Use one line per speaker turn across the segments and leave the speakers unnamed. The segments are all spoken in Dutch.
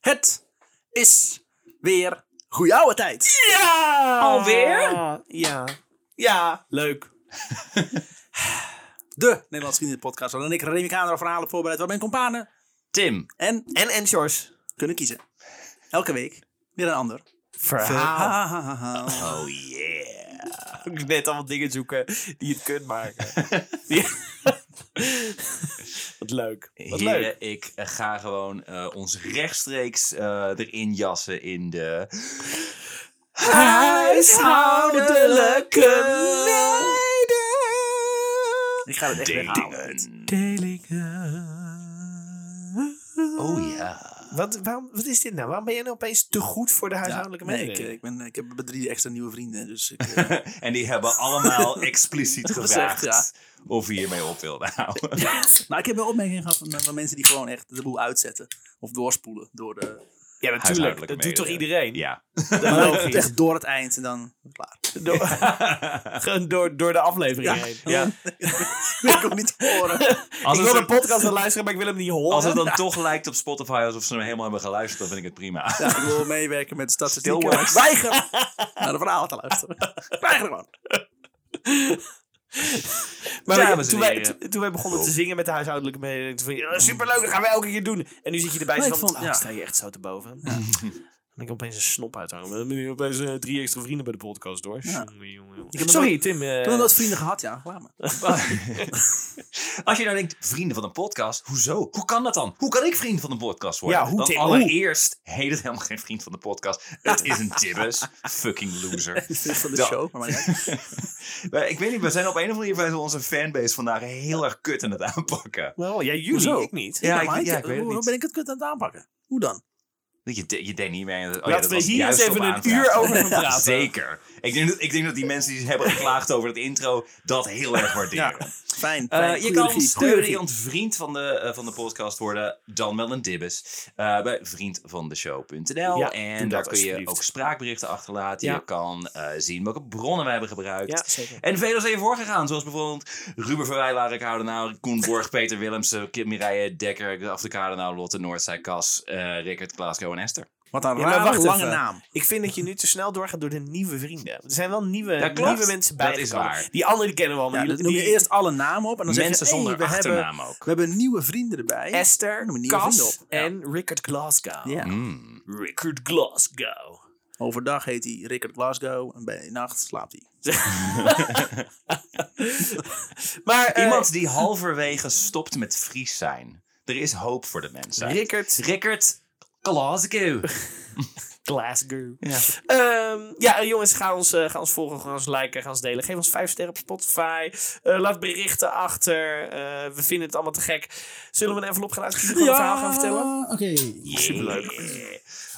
Het is weer goeie oude tijd.
Ja!
Alweer?
Ja,
Ja.
leuk. De Nederlandse Vrienden podcast waarin ik Remy Kamer verhalen voorbereid waar mijn kompanen
Tim.
en
En Enshores.
kunnen kiezen. Elke week weer een ander
Verhaal.
verhaal.
Oh yeah. Ik net allemaal dingen zoeken die het kunt maken.
Wat leuk. Wat leuk.
Heren, ik eh, ga gewoon eh, ons rechtstreeks eh, erin jassen in de...
Huishoudelijke Ik ga het echt weghalen.
Dingen.
Delingen.
Oh ja.
Wat, waarom, wat is dit nou? Waarom ben jij nou opeens te goed voor de huishoudelijke
nee, ik,
mededeling?
ik, ben, ik heb drie extra nieuwe vrienden, dus ik, eh,
En die hebben allemaal expliciet
Gezegd,
gevraagd of je hiermee op Nou, wilde houden.
Maar Nou, ik heb wel opmerkingen gehad van, eh, van mensen die gewoon echt de boel uitzetten. Of doorspoelen door de...
ja,
Huishoudelijke mededeling.
iedereen?
Ja.
Echt door het eind en dan klaar.
Door, door, door de aflevering
Ja.
heen.
ja.
Wil ik hem niet horen.
Als
ik
het-
wil een podcast aan luisteren, maar ik wil hem niet horen.
Als het dan toch lijkt op Spotify alsof ze hem helemaal hebben geluisterd, dan vind ik het prima.
Ja, ik wil meewerken met de statistieken.
Still
maar ik
works.
weiger naar de verhalen te luisteren. Ik weiger gewoon.
maar
Ja,
we-
dames en
toen, wij,
heren.
toen- toen wij begonnen
Oh.
te zingen met de huishoudelijke mededeling, toen vond je, "Oh, superleuk, dat gaan we elke keer doen. En nu zit je erbij
Nee,
zo
ik
van,
vond-
oh,
ja.
sta je echt zo te boven. En ik opeens een snop uithangen. Dan ben je opeens eh, drie extra vrienden bij de podcast, hoor. Jongen, jongen, jongen.
Ik heb
Sorry,
nog-
Tim. eh,
Ik heb nog nooit vrienden gehad, ja. Laat maar.
Als je nou denkt, vrienden van een podcast, hoezo? Hoe kan dat dan? Hoe kan ik vriend van een podcast worden?
Ja, hoe,
dan
Tim?
allereerst heet het helemaal geen vriend van de podcast. Het is een dibbes. Fucking loser.
Het is van de
Ja.
show. Maar, maar ja.
Maar ik weet niet, we zijn op een of andere manier zijn we onze fanbase vandaag heel erg kut aan het aanpakken.
Wel, ja, jullie,
Hoezo?
ik niet.
Ja,
maar
ik- ja, ik weet het
hoe,
niet.
hoe ben ik het kut aan het aanpakken? Hoe dan?
Je, de- je deed niet mee. aan het- Oh,
Laten
dat
we
was
hier
juist
eens
op
even een
aanvraag.
uur over gaan
Ja,
praten.
Zeker. Ik denk, dat, ik denk dat die mensen die hebben geklaagd over het intro, dat heel erg waarderen.
Ja. Fijn.
Eh,
fijn.
je
Goeie regie,
kan ons
goeie
steunen
regie.
in vriend van de, eh, van de podcast worden, dan wel een dibbes, eh, bij vriendvandeshow.nl.
Ja,
en
doe
daar
dat
kun je
alsjeblieft.
ook spraakberichten achterlaten.
Ja.
Je kan eh, zien welke bronnen wij hebben gebruikt.
Ja, zeker.
En velen zijn hiervoor gegaan, zoals bijvoorbeeld Ruben Verwijlaar, ik nou, Koen Borg, Peter Willemsen, Kim Mireille Dekker, Af de Kadenau, Lotte Noordzij, Kas, eh Rickert, Glasgow en Esther.
Wat een
Ja, maar
rare
wacht
lange
even.
naam.
Ik vind dat je nu te snel doorgaat door de nieuwe vrienden. Er zijn wel nieuwe,
Dat klopt.
nieuwe mensen bij.
Dat is waar.
Die anderen die kennen we al. maar
Ja,
die,
dan noem je
die-
eerst alle namen op. En dan
Mensen
zeg je, hey,
zonder
we hebben,
achternaam ook.
we hebben nieuwe vrienden erbij.
Esther,
Noem een nieuwe
Cas
vrienden op. Ja.
en Rickard Glasgow.
Ja.
Mm.
Rickard Glasgow.
Overdag heet hij Rickard Glasgow en bij nacht slaapt hij.
Maar eh,
Iemand die halverwege stopt met Fries zijn. Er is hoop voor de mensen.
Rickard
Rickert Glasgow.
Glasgow.
Ja.
Ehm, ja, eh, jongens, ga ons, eh, ga ons volgen, ga ons liken, ga ons delen. Geef ons vijf sterren op Spotify. Eh, laat berichten achter. Eh, we vinden het allemaal te gek. Zullen we een envelop gaan uitkiezen? Gewoon een verhaal gaan vertellen?
Oké.
Superleuk.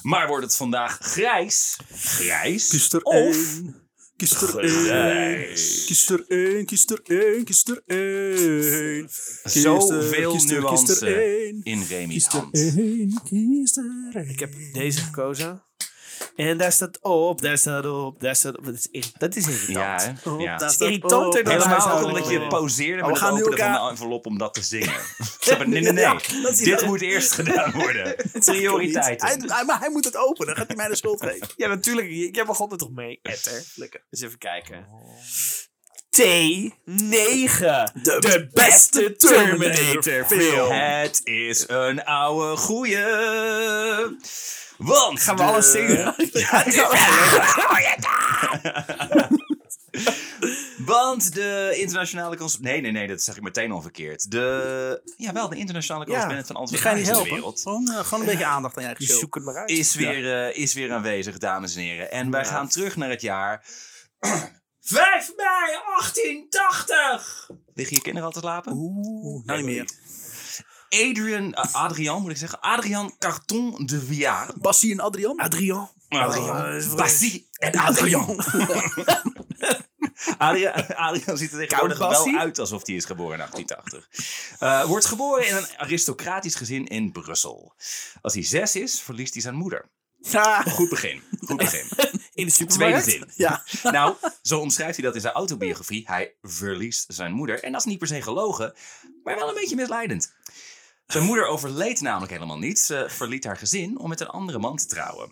Maar wordt het vandaag grijs? Grijs?
Kies er
of
één. Kies er één.
grijs?
Kies er één, kies er één, kies er één. Kies er-
Zoveel
kies er- Kies
nuance
er één.
in Remy's
Kies er
hand.
één, kies er één.
Ik heb deze gekozen. En daar staat op, daar staat op, daar staat op. Dat is, irri- dat is irritant.
Ja, hè?
Oh,
ja.
daar staat
irritanter
op.
dan
Helemaal ook
huishoudelijke
omdat je
mededeling.
poseerde
Oh, we
met het
gaan nu
openen van
elkaar-
de envelop om dat te zingen. Ze hebben- Nee, nee, nee.
Ja, dat is
Dit moet eerst gedaan worden.
Hij,
Prioriteiten.
hij- maar hij moet het openen, gaat hij mij de schuld geven.
Ja, natuurlijk. Jij begon er toch mee, Etter? Lekker. Dus even kijken. T9. De, beste Terminator film.
Het is een oude goeie. Want
Gaan we
de-
alles zingen?
Ja,
Oh,
Want de internationale correspondent... Nee, nee, nee, dat zeg ik meteen al verkeerd. De, ja, wel, de internationale correspondent van
Die
Antwerpen
ga je niet
in de
helpen.
wereld
Gewoon, eh, gewoon een beetje aandacht aan je eigen
Die
show.
zoek het maar uit.
is weer, eh, is weer aanwezig, dames en heren. En wij gaan terug naar het jaar... 5 mei 1880! Liggen je kinderen al te slapen?
Oeh, nou niet meer.
Adrian, eh, Adrian moet ik zeggen, Adrian Carton de Villard.
Bassie en Adrian? Adrian.
Adrian, Bassie en Adrian. Adrian, Adrian ziet er tegenwoordig
Koud Bassie?
wel uit alsof hij is geboren in 1880. Eh, wordt geboren in een aristocratisch gezin in Brussel. Als hij zes is, verliest hij zijn moeder. Goed begin. Goed begin.
in
Tweede
de supermarkt.
zin.
Ja.
Nou, zo omschrijft hij dat in zijn autobiografie. Hij verliest zijn moeder. En dat is niet per se gelogen, maar wel een beetje misleidend. Zijn moeder overleed namelijk helemaal niet. Ze verliet haar gezin om met een andere man te trouwen.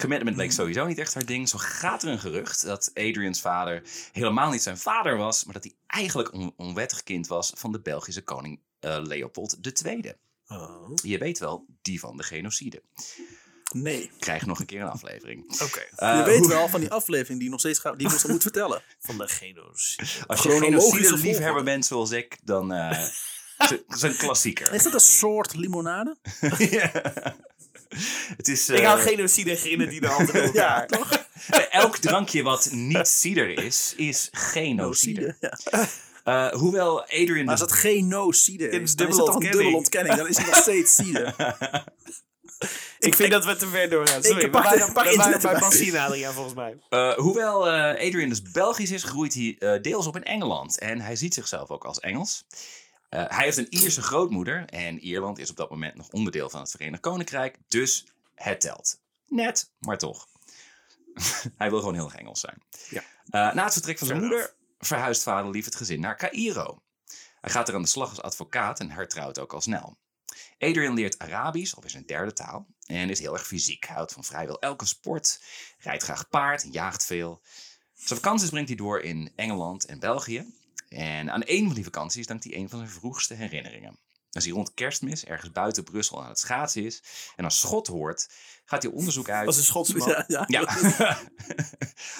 Commitment leek sowieso niet echt haar ding. Zo gaat er een gerucht dat Adrian's vader helemaal niet zijn vader was, maar dat hij eigenlijk een onwettig kind was van de Belgische koning eh, Leopold II.
Oh.
Je weet wel, die van de genocide.
Nee.
Krijg nog een keer een aflevering.
Oké.
Eh,
je weet
hoe-
wel van die aflevering die nog steeds gaat, die ik ons nog moet vertellen.
Van de genocide.
Als je
chronologische
genocide liefhebber
volgorde.
bent zoals ik, dan eh, is het- is een klassieker.
Is dat een soort limonade?
Ja. Het is,
Ik
eh,
hou genocide en grenadine altijd door elkaar.
elk drankje wat niet cider is, is genocide.
Nocide. Nou, Ja.
Eh hoewel Adrian...
Maar als
dus-
het genocide
Dit
is,
is
dan is
dubbele
het toch een
ontkenning.
dubbele ontkenning. Dan is het nog steeds cider.
Ik vind dat we te ver doorgaan. Sorry,
Ik
we
pak-
waren,
pak
we waren
internet
bij
erbij.
Bassi en Adriaan volgens mij.
Eh, hoewel eh, Adrian dus Belgisch is, groeit hij eh, deels op in Engeland. En hij ziet zichzelf ook als Engels. Eh, hij heeft een Ierse grootmoeder. En Ierland is op dat moment nog onderdeel van het Verenigd Koninkrijk. Dus het telt. Net, maar toch. hij wil gewoon heel erg Engels zijn.
Ja.
Eh, na het vertrek van zijn
Fair
moeder verhuist vaderlief het gezin naar Cairo. Hij gaat er aan de slag als advocaat en hertrouwt ook al snel. Adrian leert Arabisch, of is een derde taal, en is heel erg fysiek. Hij houdt van vrijwel elke sport, rijdt graag paard, jaagt veel. Zijn vakanties brengt hij door in Engeland en België. En aan een van die vakanties dankt hij een van zijn vroegste herinneringen. Als hij rond kerstmis ergens buiten Brussel aan het schaatsen is en een schot hoort, gaat hij onderzoek uit.
Als een Schotsman.
Ja, ja.
Ja.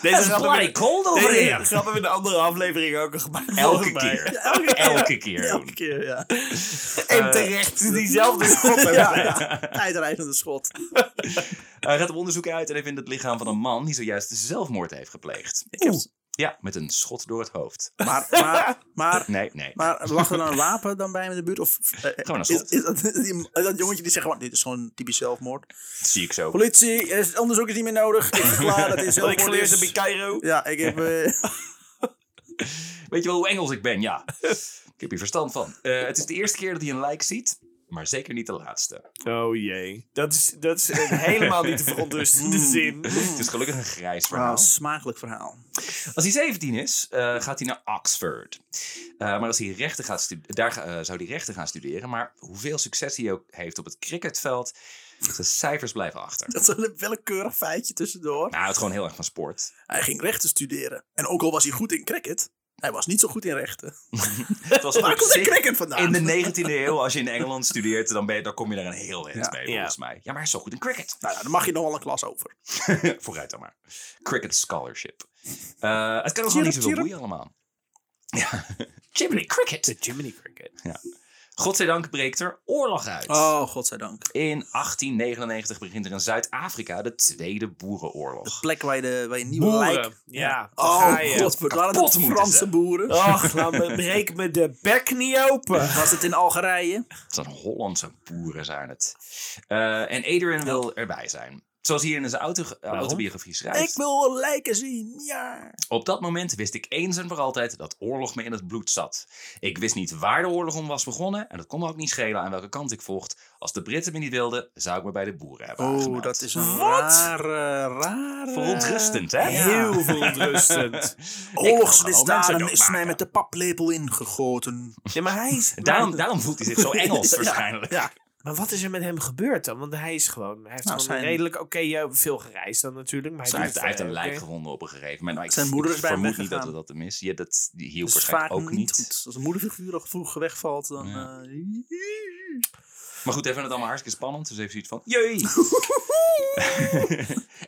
Deze
It's
hadden we-
bloody cold over
Deze
here.
grap hebben we in de andere aflevering ook al gemaakt.
Elke
volgens mij.
keer.
Elke keer.
Elke keer
Elke
doen. Eh,
keer, ja.
En terecht. Diezelfde schop hebben
Eh, ja,
wij.
ja. Tijdrijdende schot.
Hij gaat op onderzoek uit en hij vindt het lichaam van een man die zojuist zelfmoord heeft gepleegd.
Ik heb,
Ja, met een schot door het hoofd.
maar, maar, maar,
Nee, nee.
maar lag er dan een wapen dan bij hem in de buurt? Of, eh,
Gewoon een
is,
schot.
is dat, die- dat jongetje die zegt gewoon, dit is gewoon typisch zelfmoord.
Dat zie ik zo.
Politie, er is onderzoek is niet meer nodig. Ik verklaar dat dit
Wat ik
zelfmoord
geleerd heb in
is.
Cairo.
Ja, ik heb... eh,
Weet je wel hoe Engels ik ben? Ja. Ik heb hier verstand van. Eh, het is de eerste keer dat hij een lijk ziet, maar zeker niet de laatste.
Oh jee. Dat is, dat is een helemaal niet te verontrustende
Mm.
zin.
Het is gelukkig een grijs verhaal.
Wauw, smakelijk verhaal.
Als hij 17 is, eh, gaat hij naar Oxford. Eh, maar als hij rechten gaat stu- daar eh, zou hij rechten gaan studeren. Maar hoeveel succes hij ook heeft op het cricketveld, zijn cijfers blijven achter.
Dat is wel een willekeurig feitje tussendoor.
Nou, hij houdt gewoon heel erg van sport.
Hij ging rechten studeren. En ook al was hij goed in cricket, hij was niet zo goed in rechten.
Het was
Waar
op
komt de
zich-
cricket vandaan?
in de 19e eeuw, als je in Engeland studeert, dan, ben je, dan kom je daar een heel eind
Ja.
mee,
Ja.
volgens mij. Ja, maar hij is zo goed in cricket.
Nou, ja, dan mag je nog wel een klas over.
Vooruit dan maar. Cricket scholarship. Eh, het kan ons nog
Chirrup,
niet zoveel
chirrup.
boeien allemaal. Ja. Jiminy cricket.
Jiminy Cricket.
Godzijdank breekt er oorlog uit.
Oh, godzijdank.
In 1899 begint er in Zuid-Afrika de Tweede Boerenoorlog.
Plek waar je, de, waar je nieuwe lijk...
Boeren. Ja, daar
Oh,
ga je.
god, waren
Kapot
het
moeten
Franse
ze.
boeren?
Och, laat me, breek me de bek niet open.
Was het in Algerije?
Het zijn Hollandse boeren zijn het. Eh, en Adrian wil erbij zijn. Zoals hij in zijn auto, autobiografie schrijft.
Ik wil lijken zien, ja.
Op dat moment wist ik eens en voor altijd dat oorlog me in het bloed zat. Ik wist niet waar de oorlog om was begonnen en dat kon me ook niet schelen aan welke kant ik vocht. Als de Britten me niet wilden, zou ik me bij de boeren hebben
Oh,
aangemeld.
dat is een
Wat?
rare, rare...
Verontrustend, hè?
Ja.
Heel verontrustend.
Ik wil gewoon
Oorlogsmisdaden is
mensen
mij met de paplepel ingegoten.
Nee, maar hij is...
Daarom, daarom voelt hij zich zo Engels
Ja,
waarschijnlijk.
Ja,
Maar wat is er met hem gebeurd dan? Want hij is gewoon... Hij heeft
Nou,
gewoon
zijn-
redelijk... Oké, ja, veel gereisd dan natuurlijk. Maar hij,
Hij heeft,
doet
hij heeft
het,
een
eh,
lijk
oké.
gevonden op een gegeven moment. Maar ik,
Zijn moeder
ik
is bij hem
vermoed niet dat
weggegaan.
dat hem is. Ja, dat die hielp
dat is vaak
waarschijnlijk ook
niet
niet.
goed. Als een moederfiguur al vroeg wegvalt, dan...
Ja.
eh,
Maar goed, hij vindt het allemaal hartstikke spannend. Dus hij heeft zoiets van, jee!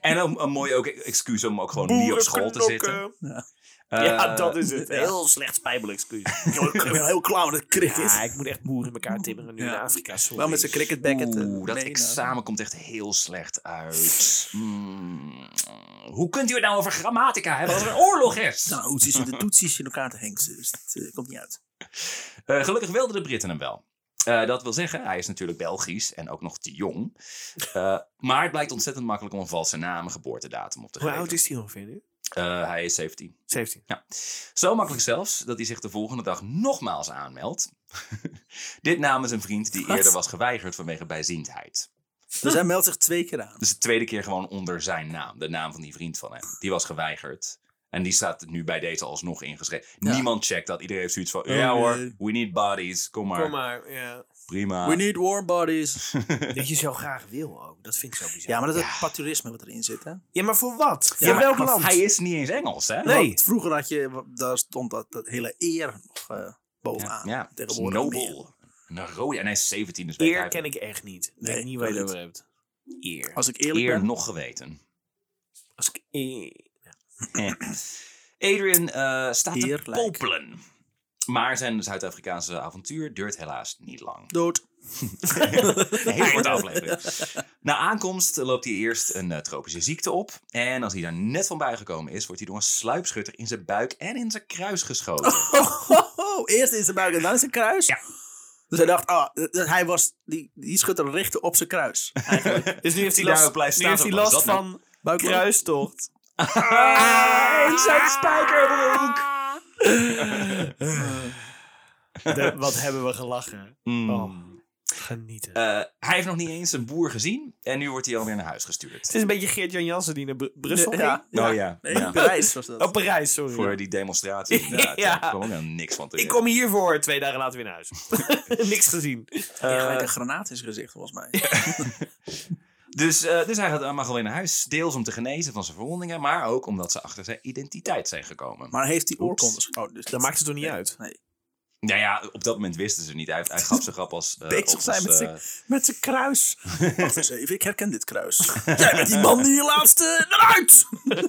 en een, een mooi ook excuus om ook gewoon niet op school te zitten.
Boerenknokken. ja,
Eh,
dat is het.
ja.
Heel slecht spijbelexcuus.
Yo, ik ben heel klaar met het cricket.
Ja, ik moet echt boeren in elkaar timmeren nu
Ja.
in Afrika. Sorry.
Wel met zijn
eh,
cricketbacket. eh,
Oeh, dat examen komt echt heel slecht uit. Mm. Hoe kunt u het nou over grammatica hebben als er een oorlog is?
Nou, hoe zit de toetsies in elkaar te hengsten? Dus dat eh, komt niet uit.
Eh, gelukkig wilden de Britten hem wel. Eh, dat wil zeggen, hij is natuurlijk Belgisch en ook nog te jong. Eh, maar het blijkt ontzettend makkelijk om een valse naam en geboortedatum op te
Hoe
geven.
oud is hij ongeveer nu?
Eh, hij is 17.
17.
Zo makkelijk zelfs dat hij zich de volgende dag nogmaals aanmeldt. Dit namens een vriend die
Wat?
eerder was geweigerd vanwege bijziendheid.
Dus hij meldt zich twee keer aan.
Dus de tweede keer gewoon onder zijn naam. De naam van die vriend van hem. Die was geweigerd. En die staat nu bij deze alsnog ingeschreven.
Ja.
Niemand checkt dat. Iedereen heeft zoiets van...
Oh,
ja hoor,
nee.
we need bodies. Kom maar.
Kom maar, ja.
prima.
We need war bodies.
Dat je zo graag wil ook. Dat vind ik zo bizar.
Ja, maar dat is
Ja.
het paturisme wat erin zit, hè?
Ja, maar voor wat?
Ja,
voor
maar-
welk
Want
land?
Hij is niet eens Engels, hè?
Nee.
Want vroeger had je, daar stond dat, dat hele eer nog eh,
Ja,
bovenaan.
ja.
Tegenwoordig meer.
Nobel. Een rode. En hij is 17, dus weet
Eer
hij-
ken ik echt niet. Ik
Nee,
weet niet waar je het
dat
over hebt. Eer.
Als ik eerlijk
Eer
ben.
nog geweten.
Als ik eer- Dus
Eh. Adrian eh, staat
Eer
te
lijken.
popelen. Maar zijn Zuid-Afrikaanse avontuur duurt helaas niet lang.
Dood.
Een hele korte aflevering. Na aankomst loopt hij eerst een eh, tropische ziekte op. En als hij daar net van bijgekomen is, wordt hij door een sluipschutter in zijn buik en in zijn kruis geschoten.
Oh,
Oh, Eerst in zijn buik en dan in zijn kruis.
Ja.
Dus hij dacht, ah, dat- dat hij was, die, die schutter richtte op zijn kruis.
Dus nu heeft hij
Daarop
last,
blijft
nu
staan,
heeft hij
wat is
last
dat
van
Buik
kruistocht.
Ah, in zijn spijkerbroek!
Eh,
De- wat hebben we gelachen.
Mm.
Oh. Genieten.
Eh, hij heeft nog niet eens een boer gezien. En nu wordt hij alweer naar huis gestuurd.
het is een beetje Geert-Jan Jansen die naar Bru- Brussel ging.
Ja.
Nou ja.
Nee,
ja.
Parijs was dat.
Oh, Parijs, sorry.
Voor die eh, demonstratie. inderdaad.
Ja.
Ja. Daar kwam ook helemaal niks van
Ik
terecht.
kom hiervoor, twee dagen later weer naar huis. Niks gezien.
Hij
Eh,
had een granaat in zijn gezicht, volgens mij.
Dus, eh, dus hij gaat, mag alleen naar huis. Deels om te genezen van zijn verwondingen. Maar ook omdat ze achter zijn identiteit zijn gekomen.
Maar heeft die
Oeps.
oorkondes. Oh, dus
Dat maakt het toch niet uit?
Nee.
Nou ja, op dat moment wisten ze niet. Hij, hij gaf zijn grap als... eh,
Bezig
of
zijn
als,
met
eh,
Met zijn kruis. Wacht eens even, ik herken dit kruis. Jij bent die man die je laatste eruit!
"Nou,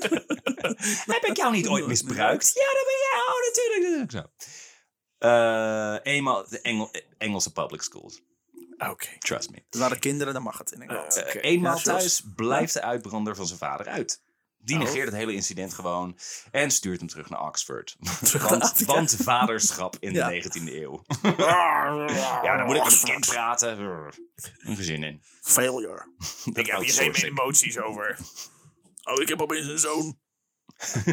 Heb ik jou niet ooit misbruikt? Ja, dat ben jij. Oh, natuurlijk. natuurlijk. Zo. Eh, eenmaal de Engel- Engelse public schools.
Oké.
Trust me.
Er waren kinderen, dan mag het in Engeland.
Eh,
Oké.
eenmaal
Ah, Ja, zoals-
thuis blijft de uitbrander van zijn vader uit. Die
Oh.
negeert het hele incident gewoon en stuurt hem terug naar Oxford.
naar
want,
Afrika.
want vaderschap in
Ja. Oh.
de 19e eeuw. Ja, dan moet ik met een kind praten. Een gezin in.
Failure.
Ik
emoties over.
Oh, ik heb opeens een zoon.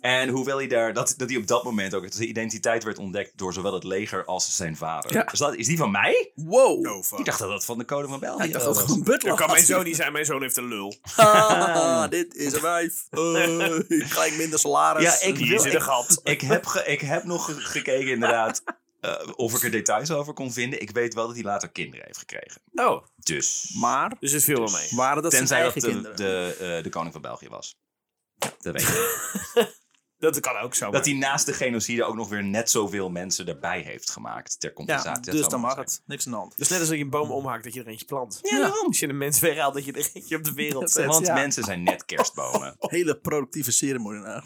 En hoewel hij daar, dat, dat hij op dat moment ook, zijn identiteit werd ontdekt door zowel het leger als zijn vader.
Ja.
Dus dat, is die van mij?
Wow.
Ik dacht dat dat van de koning van België
Ja, ik dacht dat
was.
het gewoon butler was.
niet zijn, mijn zoon heeft een lul.
Haha, Ah, dit is een wijf. Eh, gelijk minder salaris.
Ja, ik wil- ik-
gat.
ik, heb ge- ik heb nog ge- gekeken inderdaad eh, of ik er details over kon vinden. Ik weet wel dat hij later kinderen heeft gekregen.
Oh,
Dus,
Maar,
dus het viel wel mee.
waren dat zijn
tenzij dat
eigen
de,
kinderen?
de, eh, de koning van België was. Dat weet ik niet.
Dat kan ook zo.
Dat hij naast de genocide ook nog weer net zoveel mensen erbij heeft gemaakt ter
ja,
compensatie. Dat
dus
zou
dan
maar
mag
zijn.
het. Niks aan de hand.
Dus net als dat je een boom omhaakt, dat je er eentje plant.
Ja, daarom.
Als je een mens weghaalt, dat je er eentje op de wereld zet.
Want
ja.
mensen zijn net kerstbomen.
Hele productieve ceremonie. nou.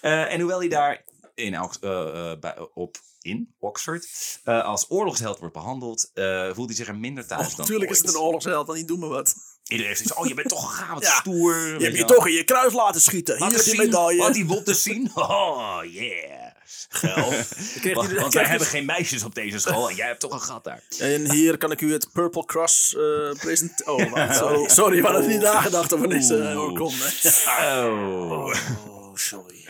Eh, en hoewel hij daar in, Ox- eh, eh, bij- op in Oxford eh, als oorlogsheld wordt behandeld, eh, voelt hij zich er minder thuis dan
Natuurlijk is het
ooit.
een oorlogsheld, dan niet doen we wat.
Iedereen heeft zoiets oh je bent toch gaaf, wat
Ja.
stoer.
Je hebt je
toch
toch in je kruis laten schieten. Hier
Laat
is
eens
je
zien wat
medaille.
die wilde zien. Oh, yeah. Geil. want want wij hebben geen meisjes op deze school en jij hebt toch een gat daar.
En hier kan ik u het Purple Cross eh presenteren. Oh, wacht, sorry. sorry, we hadden niet nagedacht over deze eh,
Oeh.
oorkonde.
Oh.
Oh, sorry.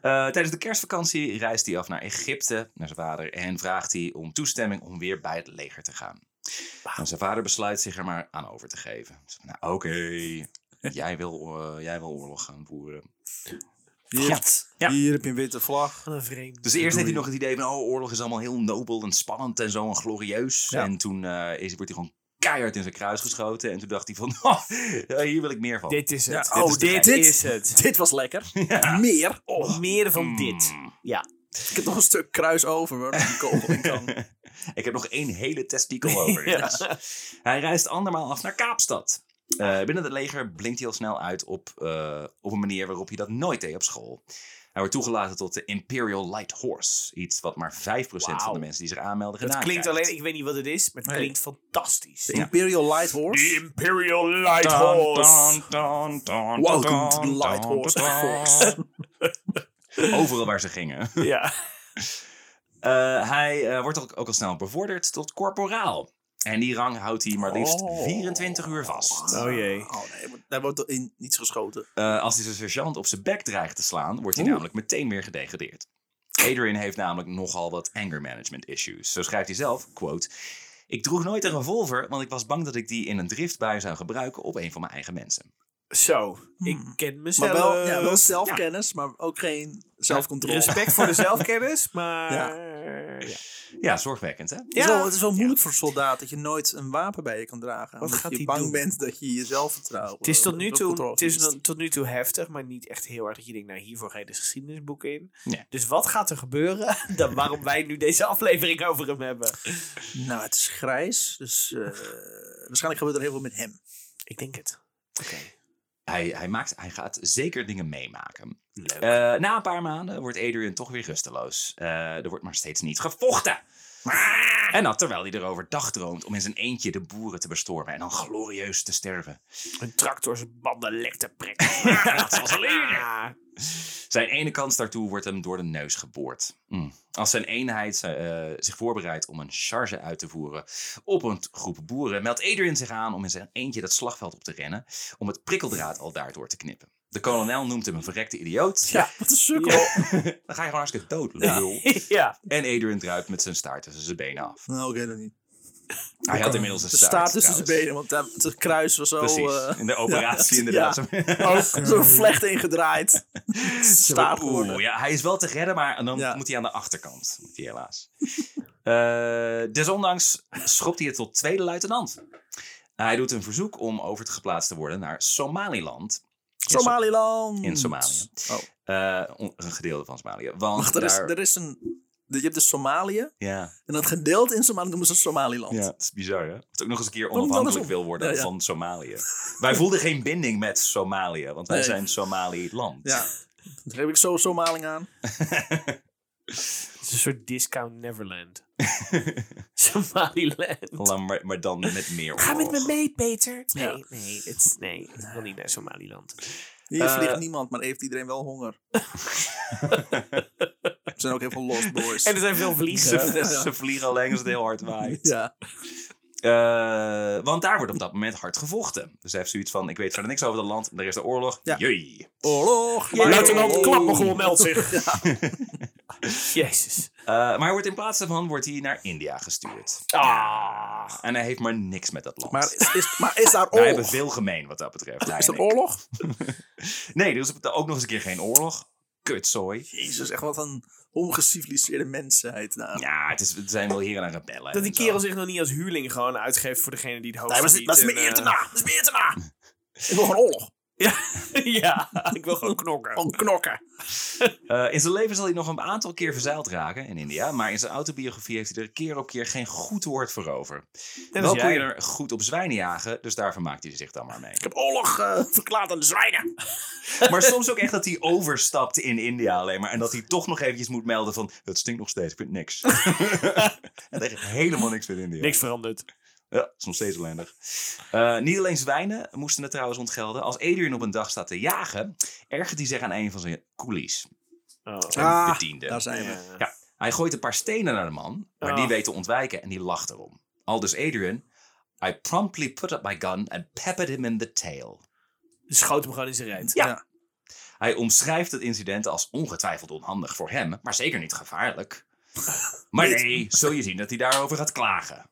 Eh, tijdens de kerstvakantie reist hij af naar Egypte, naar zijn vader, en vraagt hij om toestemming om weer bij het leger te gaan. En zijn vader besluit zich er maar aan over te geven. Zegt, nou, oké, jij, wil, eh, jij wil oorlog gaan voeren. Dus
Hier,
Ja.
hier heb je een witte vlag.
Wat een vreemd.
Dus eerst heeft hij nog het idee van, oh, oorlog is allemaal heel nobel en spannend en zo en glorieus.
Ja.
En toen eh, is, wordt hij gewoon keihard in zijn kruis geschoten. En toen dacht hij van, oh, hier wil ik meer van.
Dit is het.
Ja,
oh,
dit is
dit,
de gek.
is het.
Dit was lekker. Meer. Oh,
Meer van
Mm.
dit. Ja.
ik heb nog een stuk kruis over waar die kogel in kan.
Ik heb nog één hele testikel over.
Ja.
Dus. Hij reist andermaal af naar Kaapstad. Eh, binnen het leger blinkt hij al snel uit op, eh, op een manier waarop je dat nooit deed op school. Hij wordt toegelaten tot de Imperial Light Horse. Iets wat maar 5% van de
Wauw.
mensen die zich aanmelden
Het
gedaan
klinkt
krijgt.
alleen, ik weet niet wat het is, maar het
Nee.
klinkt fantastisch.
De Imperial Light Horse.
Imperial Light
Dun, dun, dun,
Welcome to
dun,
the Light
dun,
Horse.
dun, dun.
Oh.
Overal waar ze gingen.
Ja.
Eh, hij eh, wordt ook, ook al snel bevorderd tot corporaal. En die rang houdt hij maar liefst
Oh.
24 uur vast.
Oh jee.
Oh nee, maar daar wordt er in niets geschoten.
Eh, als hij zijn sergeant op zijn bek dreigt te slaan, wordt hij
Oeh.
namelijk meteen weer gedegradeerd. Adrian heeft namelijk nogal wat anger management issues. Zo schrijft hij zelf, quote... Ik droeg nooit een revolver, want ik was bang dat ik die in een driftbui zou gebruiken op een van mijn eigen mensen.
Zo,
Hmm.
ik ken mezelf. eh,
Maar wel, eh, ja, wel zelfkennis, maar ook geen zelfcontrole.
Respect voor de zelfkennis, maar...
Ja.
Ja.
Ja, zorgwekkend hè?
Het is wel, het is wel
Ja.
moeilijk voor een soldaat dat je nooit een wapen bij je kan dragen.
Wat
omdat
gaat
je
hij
bang
doen?
bent dat je jezelf vertrouwt.
Het is tot nu toe, het is dan- tot nu toe heftig, maar niet echt heel erg dat je denkt, nou hiervoor ga je dus geschiedenisboek in.
Nee.
Dus wat gaat er gebeuren dan waarom wij nu deze aflevering over hem hebben?
Nou, het is grijs, dus eh, waarschijnlijk gebeurt er heel veel met hem.
Ik denk het. Oké.
Hij, hij, maakt, hij gaat zeker dingen meemaken.
Leuk.
Eh, na een paar maanden wordt Adrian toch weer rusteloos. Eh, er wordt maar steeds niet gevochten. En dat terwijl hij erover dagdroomt om in zijn eentje de boeren te bestormen en dan glorieus te sterven.
Een tractor zijn banden lek te prikken.
Dat was al eerder. Zijn ene kans daartoe wordt hem door de neus geboord. Mm. Als zijn eenheid eh, zich voorbereidt om een charge uit te voeren op een t- groep boeren, meldt Adrian zich aan om in zijn eentje dat slagveld op te rennen om het prikkeldraad al daardoor te knippen. De kolonel noemt hem een verrekte idioot.
Ja, wat een sukkel.
Dan ga
Ja.
je gewoon hartstikke dood, lul.
ja.
En Adrian druipt met zijn staart tussen zijn benen af.
Nou, oké, dat niet.
Hij had inmiddels een
De
staart.
staat tussen zijn
trouwens.
benen, want daar- het kruis was zo,
Precies.
eh
In de operatie
ja,
inderdaad.
ook zo vlecht ingedraaid. staart
Oeh,
geworden.
ja, hij is wel te redden, maar dan
Ja.
moet hij aan de achterkant. Moet hij helaas. Eh, desondanks schopt hij het tot tweede luitenant. Nou, Hij doet een verzoek om overgeplaatst te worden naar Somaliland. In Som-
Somaliland.
In Somalië.
Oh,
eh, on- een gedeelte van Somalië. Want
wacht, er is,
daar-
er is een... Je hebt dus Somalië,
ja,
en dat gedeelte in Somalië noemen ze Somaliland.
ja, het is bizar hè. Dat ook nog eens een keer
Waarom
onafhankelijk
andersom?
wil worden
Ja, ja.
van Somalië. wij voelden geen binding met Somalië, want wij
Nee.
zijn Somaliland.
Ja. Dus Daar heb ik zo Somaling aan.
Het is een soort discount Neverland. Somaliland.
Laat Maar, maar dan met meer
Ga met me
oorlog.
mee, Peter. Nee,
Ja.
nee, het, is- nee, ik wil niet naar Somaliland.
Hier
Eh,
vliegt niemand, maar heeft iedereen wel honger. er zijn ook heel veel lost boys.
En er zijn veel vliegen.
Ze, ze vliegen alleen als het heel hard waait.
ja.
Eh, want daar wordt op dat moment hard gevochten. Dus hij heeft zoiets van, ik weet verder niks over dat land. Er is de oorlog.
Ja.
Jee.
Oorlog!
Jee. Luitenant, klap me
nog
gewoon, meld zich. Jezus.
Eh, maar hij wordt in plaats daarvan wordt hij naar India gestuurd.
Ah.
En hij heeft maar niks met dat land.
Maar is, is, maar is daar
Wij hebben
oorlog?
veel gemeen wat dat betreft. hij
Is
en
er
ik.
oorlog?
Nee, er is ook nog eens een keer geen oorlog. Kutzooi.
Jezus, echt wat een ongeciviliseerde mensheid. Nou.
Ja, het, is, het zijn wel hier en rebellen.
Dat die
en zo.
kerel zich nog niet als huurling gewoon uitgeeft voor degene die het hoofd
Nee, maar dat is- dat is
biedt
mijn
en,
eer te
eh,
na. Dat is mijn eer te na. Ik wil gewoon oorlog.
eh, ja, ik wil gewoon knokken.
Gewoon knokken.
Eh, in zijn leven zal hij nog een aantal keer verzeild raken in India. Maar in zijn autobiografie heeft hij er keer op keer geen goed woord voor over.
Net
Wel
als
kon je
jij.
er goed op zwijnen jagen, dus daarvan maakt hij zich dan maar mee.
Ik heb oorlog eh, verklaard aan de zwijnen.
Maar soms ook echt dat hij overstapt in India alleen maar. En dat hij toch nog eventjes moet melden van, het stinkt nog steeds, ik vind niks. en echt helemaal niks met India.
Niks veranderd.
Ja, is nog steeds ellendig. Eh, niet alleen zwijnen moesten het trouwens ontgelden. Als Adrian op een dag staat te jagen, ergert hij zich aan een van zijn coolies.
Oh.
Zijn
Ah,
bedienden.
Daar zijn we.
Ja.
Ja. Hij gooit een paar stenen naar de man, maar die
Ah.
weet te ontwijken en die lacht erom. Al dus Adrian, I promptly put up my gun and peppered him in the tail.
Dus schoot hem gewoon in zijn reet.
Ja. Hij omschrijft het incident als ongetwijfeld onhandig voor hem, maar zeker niet gevaarlijk. Maar nee, zul je zien dat hij daarover gaat klagen.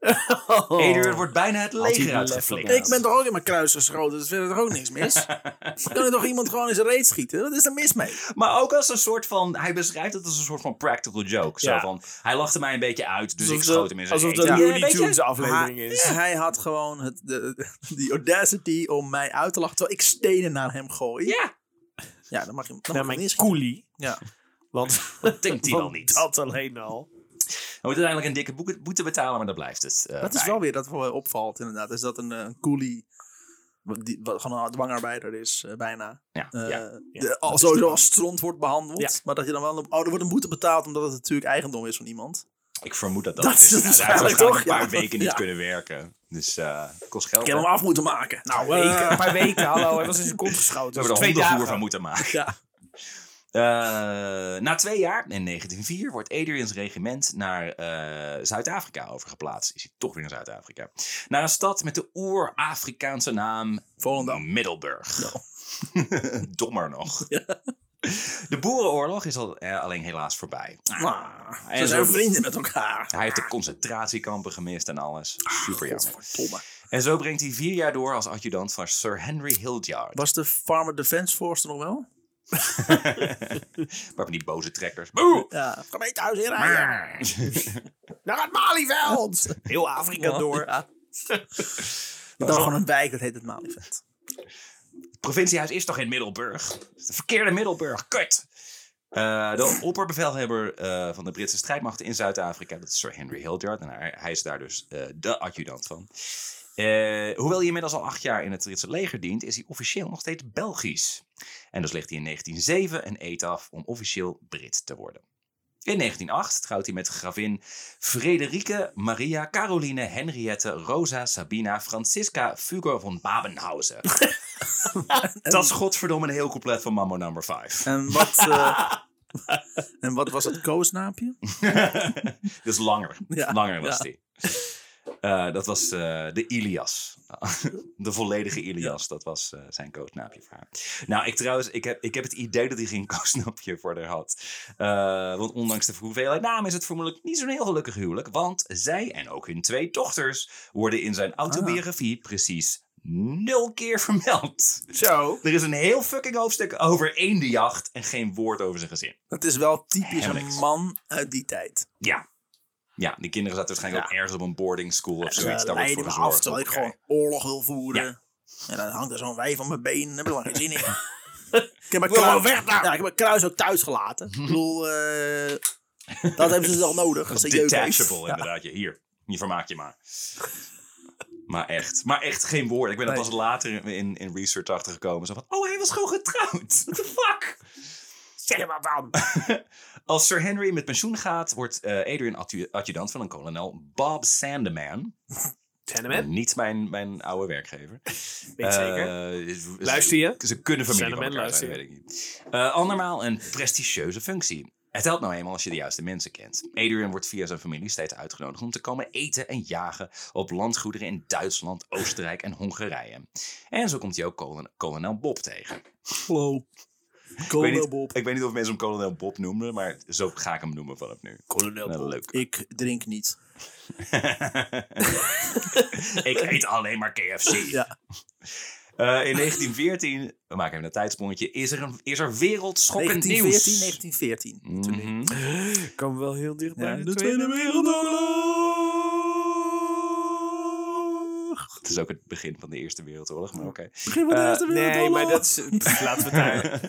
Adrian wordt bijna het
Oh. hij
leger
lef
uitgeflikkerd.
vandaag?
Ik ben toch ook in mijn kruis geschoten, dus verder toch ook niks mis? kan er toch iemand gewoon in zijn reet schieten? Wat is er mis mee?
Maar ook als een soort van, hij beschrijft het als een soort van practical joke. Zo
Ja.
van, hij lachte mij een beetje uit, dus
Alsof
ik
ze-
schoot hem in zijn
alsof
reet.
dat
Ja.
Ja.
Looney
weet je, Ah,
Tunes aflevering
Hij-
is.
Hij had gewoon het, de, die audacity om mij uit te lachen terwijl ik stenen naar hem gooi.
Ja,
Ja, dan mag je dan
Naar
mag je
mijn
niet schieten.
coolie.
Ja.
Want
dat denkt hij wel
want
niet.
Oh, dat alleen al.
Hij moet uiteindelijk een dikke boeke- boete betalen, maar dan blijft het. eh,
Dat is
bij.
wel weer dat wel opvalt inderdaad. Is dat een, eh, een coolie, wat- die, wat gewoon een dwangarbeider is eh, bijna.
Ja,
Eh,
ja.
de-
ja,
al
is
sowieso
het.
als stront wordt behandeld.
Ja.
Maar dat je dan wel... Een, oh, er wordt een boete betaald omdat het natuurlijk eigendom is van iemand.
Ik vermoed dat dat,
Dat is het
Nou, hij heeft
waarschijnlijk
waarschijnlijk
toch?
een paar
Ja.
weken niet
Ja.
kunnen werken. Dus eh kost geld.
Ik heb
hè?
hem af moeten maken. Nou, eh,
Weken, een paar weken, hallo. Hij was in zijn kont geschoten.
We
Dat
hebben
is
er
twee dagen.
hondenvoer van moeten maken.
Ja.
Eh, na twee jaar, in 1904, wordt Adrian's regiment naar eh, Zuid-Afrika overgeplaatst. Is hij toch weer in Zuid-Afrika? Naar een stad met de oer-Afrikaanse naam
Volendam.
Middelburg. Dommer nog. De Boerenoorlog is al, eh, alleen helaas voorbij.
Ah,
Nou, En eh,
ze
zo-
zijn vrienden met elkaar. Ah,
Hij heeft de concentratiekampen gemist en alles. Super jammer.
Godverdomme.
En zo brengt hij vier jaar door als adjudant van Sir Henry Hildyard.
Was de Farmer Defense Force er nog wel?
Maar van die boze trekkers. Boe!
Ja. Gemeentehuis inrijden.
Naar het Malieveld! Heel Afrika door.
Ja. Ik dacht gewoon een wijk, dat heet het Malieveld.
provinciehuis is toch in Middelburg? Het is de verkeerde Middelburg, kut! Eh, de opperbevelhebber eh, van de Britse strijdmachten in Zuid-Afrika, dat is Sir Henry Hildyard. En hij, hij is daar dus eh, de adjudant van. Eh, hoewel hij inmiddels al acht jaar in het Britse leger dient, is hij officieel nog steeds Belgisch. En dus ligt hij in 1907 een eet af om officieel Brit te worden. In 1908 trouwt hij met gravin Frederike Maria Caroline Henriette Rosa Sabina Francisca Fugger van Babenhausen. Dat
Ehm.
is godverdomme een heel compleet van Mambo Number 5.
En wat, eh, en wat was het koosnaampje?
dus langer.
Ja,
langer was
ja.
die. Eh, dat was eh, de Ilias. de volledige Ilias. Dat was eh, zijn koosnaapje voor haar. Nou, ik trouwens, ik heb, ik heb het idee dat hij geen koosnaapje voor haar had. Eh, want ondanks de hoeveelheid namen is het vermoedelijk niet zo'n heel gelukkig huwelijk. Want zij en ook hun twee dochters worden in
Ah.
zijn autobiografie precies nul keer vermeld.
Zo.
Er is een heel fucking hoofdstuk over eendenjacht en geen woord over zijn gezin.
Dat is wel typisch
Helemaal
een
niks.
man uit die tijd.
Ja. Ja, die kinderen zaten waarschijnlijk ook ergens op een boarding school of zoiets.
Ze
Daar wordt
leiden
voor
me af
gezorgd.
terwijl ik
Oké.
gewoon oorlog wil voeren. En dan hangt er zo'n wijf aan mijn been. Daar heb ik lang geen zin in. ik, heb mijn
Wil
kruis,
wel weg daar.
ja, ik heb mijn kruis ook thuis gelaten. ik bedoel, eh, dat hebben ze toch nodig.
Dat
Als
is
ze jeugd heeft.
detachable inderdaad. Je, hier, je vermaak je maar. Maar echt, maar echt geen woord. Ik ben er
Nee.
pas later in, in research achtergekomen. Zo van, oh hij was gewoon getrouwd. What the fuck?
Zeg maar dan.
Als Sir Henry met pensioen gaat, wordt eh Adrian adju- adjudant van een kolonel Bob Sandeman.
Tenement.
Niet mijn, mijn oude werkgever.
Weet zeker.
Mm. Eh, is- is-
Luister je?
Ze kunnen familie
Zijn er
van elkaar
mensen
zijn, weet ik niet. Eh, andermaal een prestigieuze functie. Het helpt nou eenmaal als je de juiste mensen kent. Adrian wordt via zijn familie steeds uitgenodigd om te komen eten en jagen op landgoederen in Duitsland, Oostenrijk en Hongarije. En zo komt hij ook kolon- kolonel Bob tegen.
Hallo.
Ik weet,
Kolonel
niet,
Bob.
ik weet niet of mensen hem kolonel Bob noemden, maar zo ga ik hem noemen vanaf nu.
Kolonel
Nou,
Bob.
leuk.
Ik drink niet.
ik eet alleen maar KFC.
Ja.
Eh, in 1914, we maken even een tijdsprongetje, is er, een, is er wereldschokkend
1914,
nieuws.
1914.
Mhm.
Kan wel heel dicht bij
Ja,
de,
de
Tweede,
Tweede
Wereldoorlog. Het is ook het begin van de Eerste Wereldoorlog, maar oké.
Begin van de
Eh,
Eerste
Nee,
Wereldoorlog.
maar dat is... laten we daar...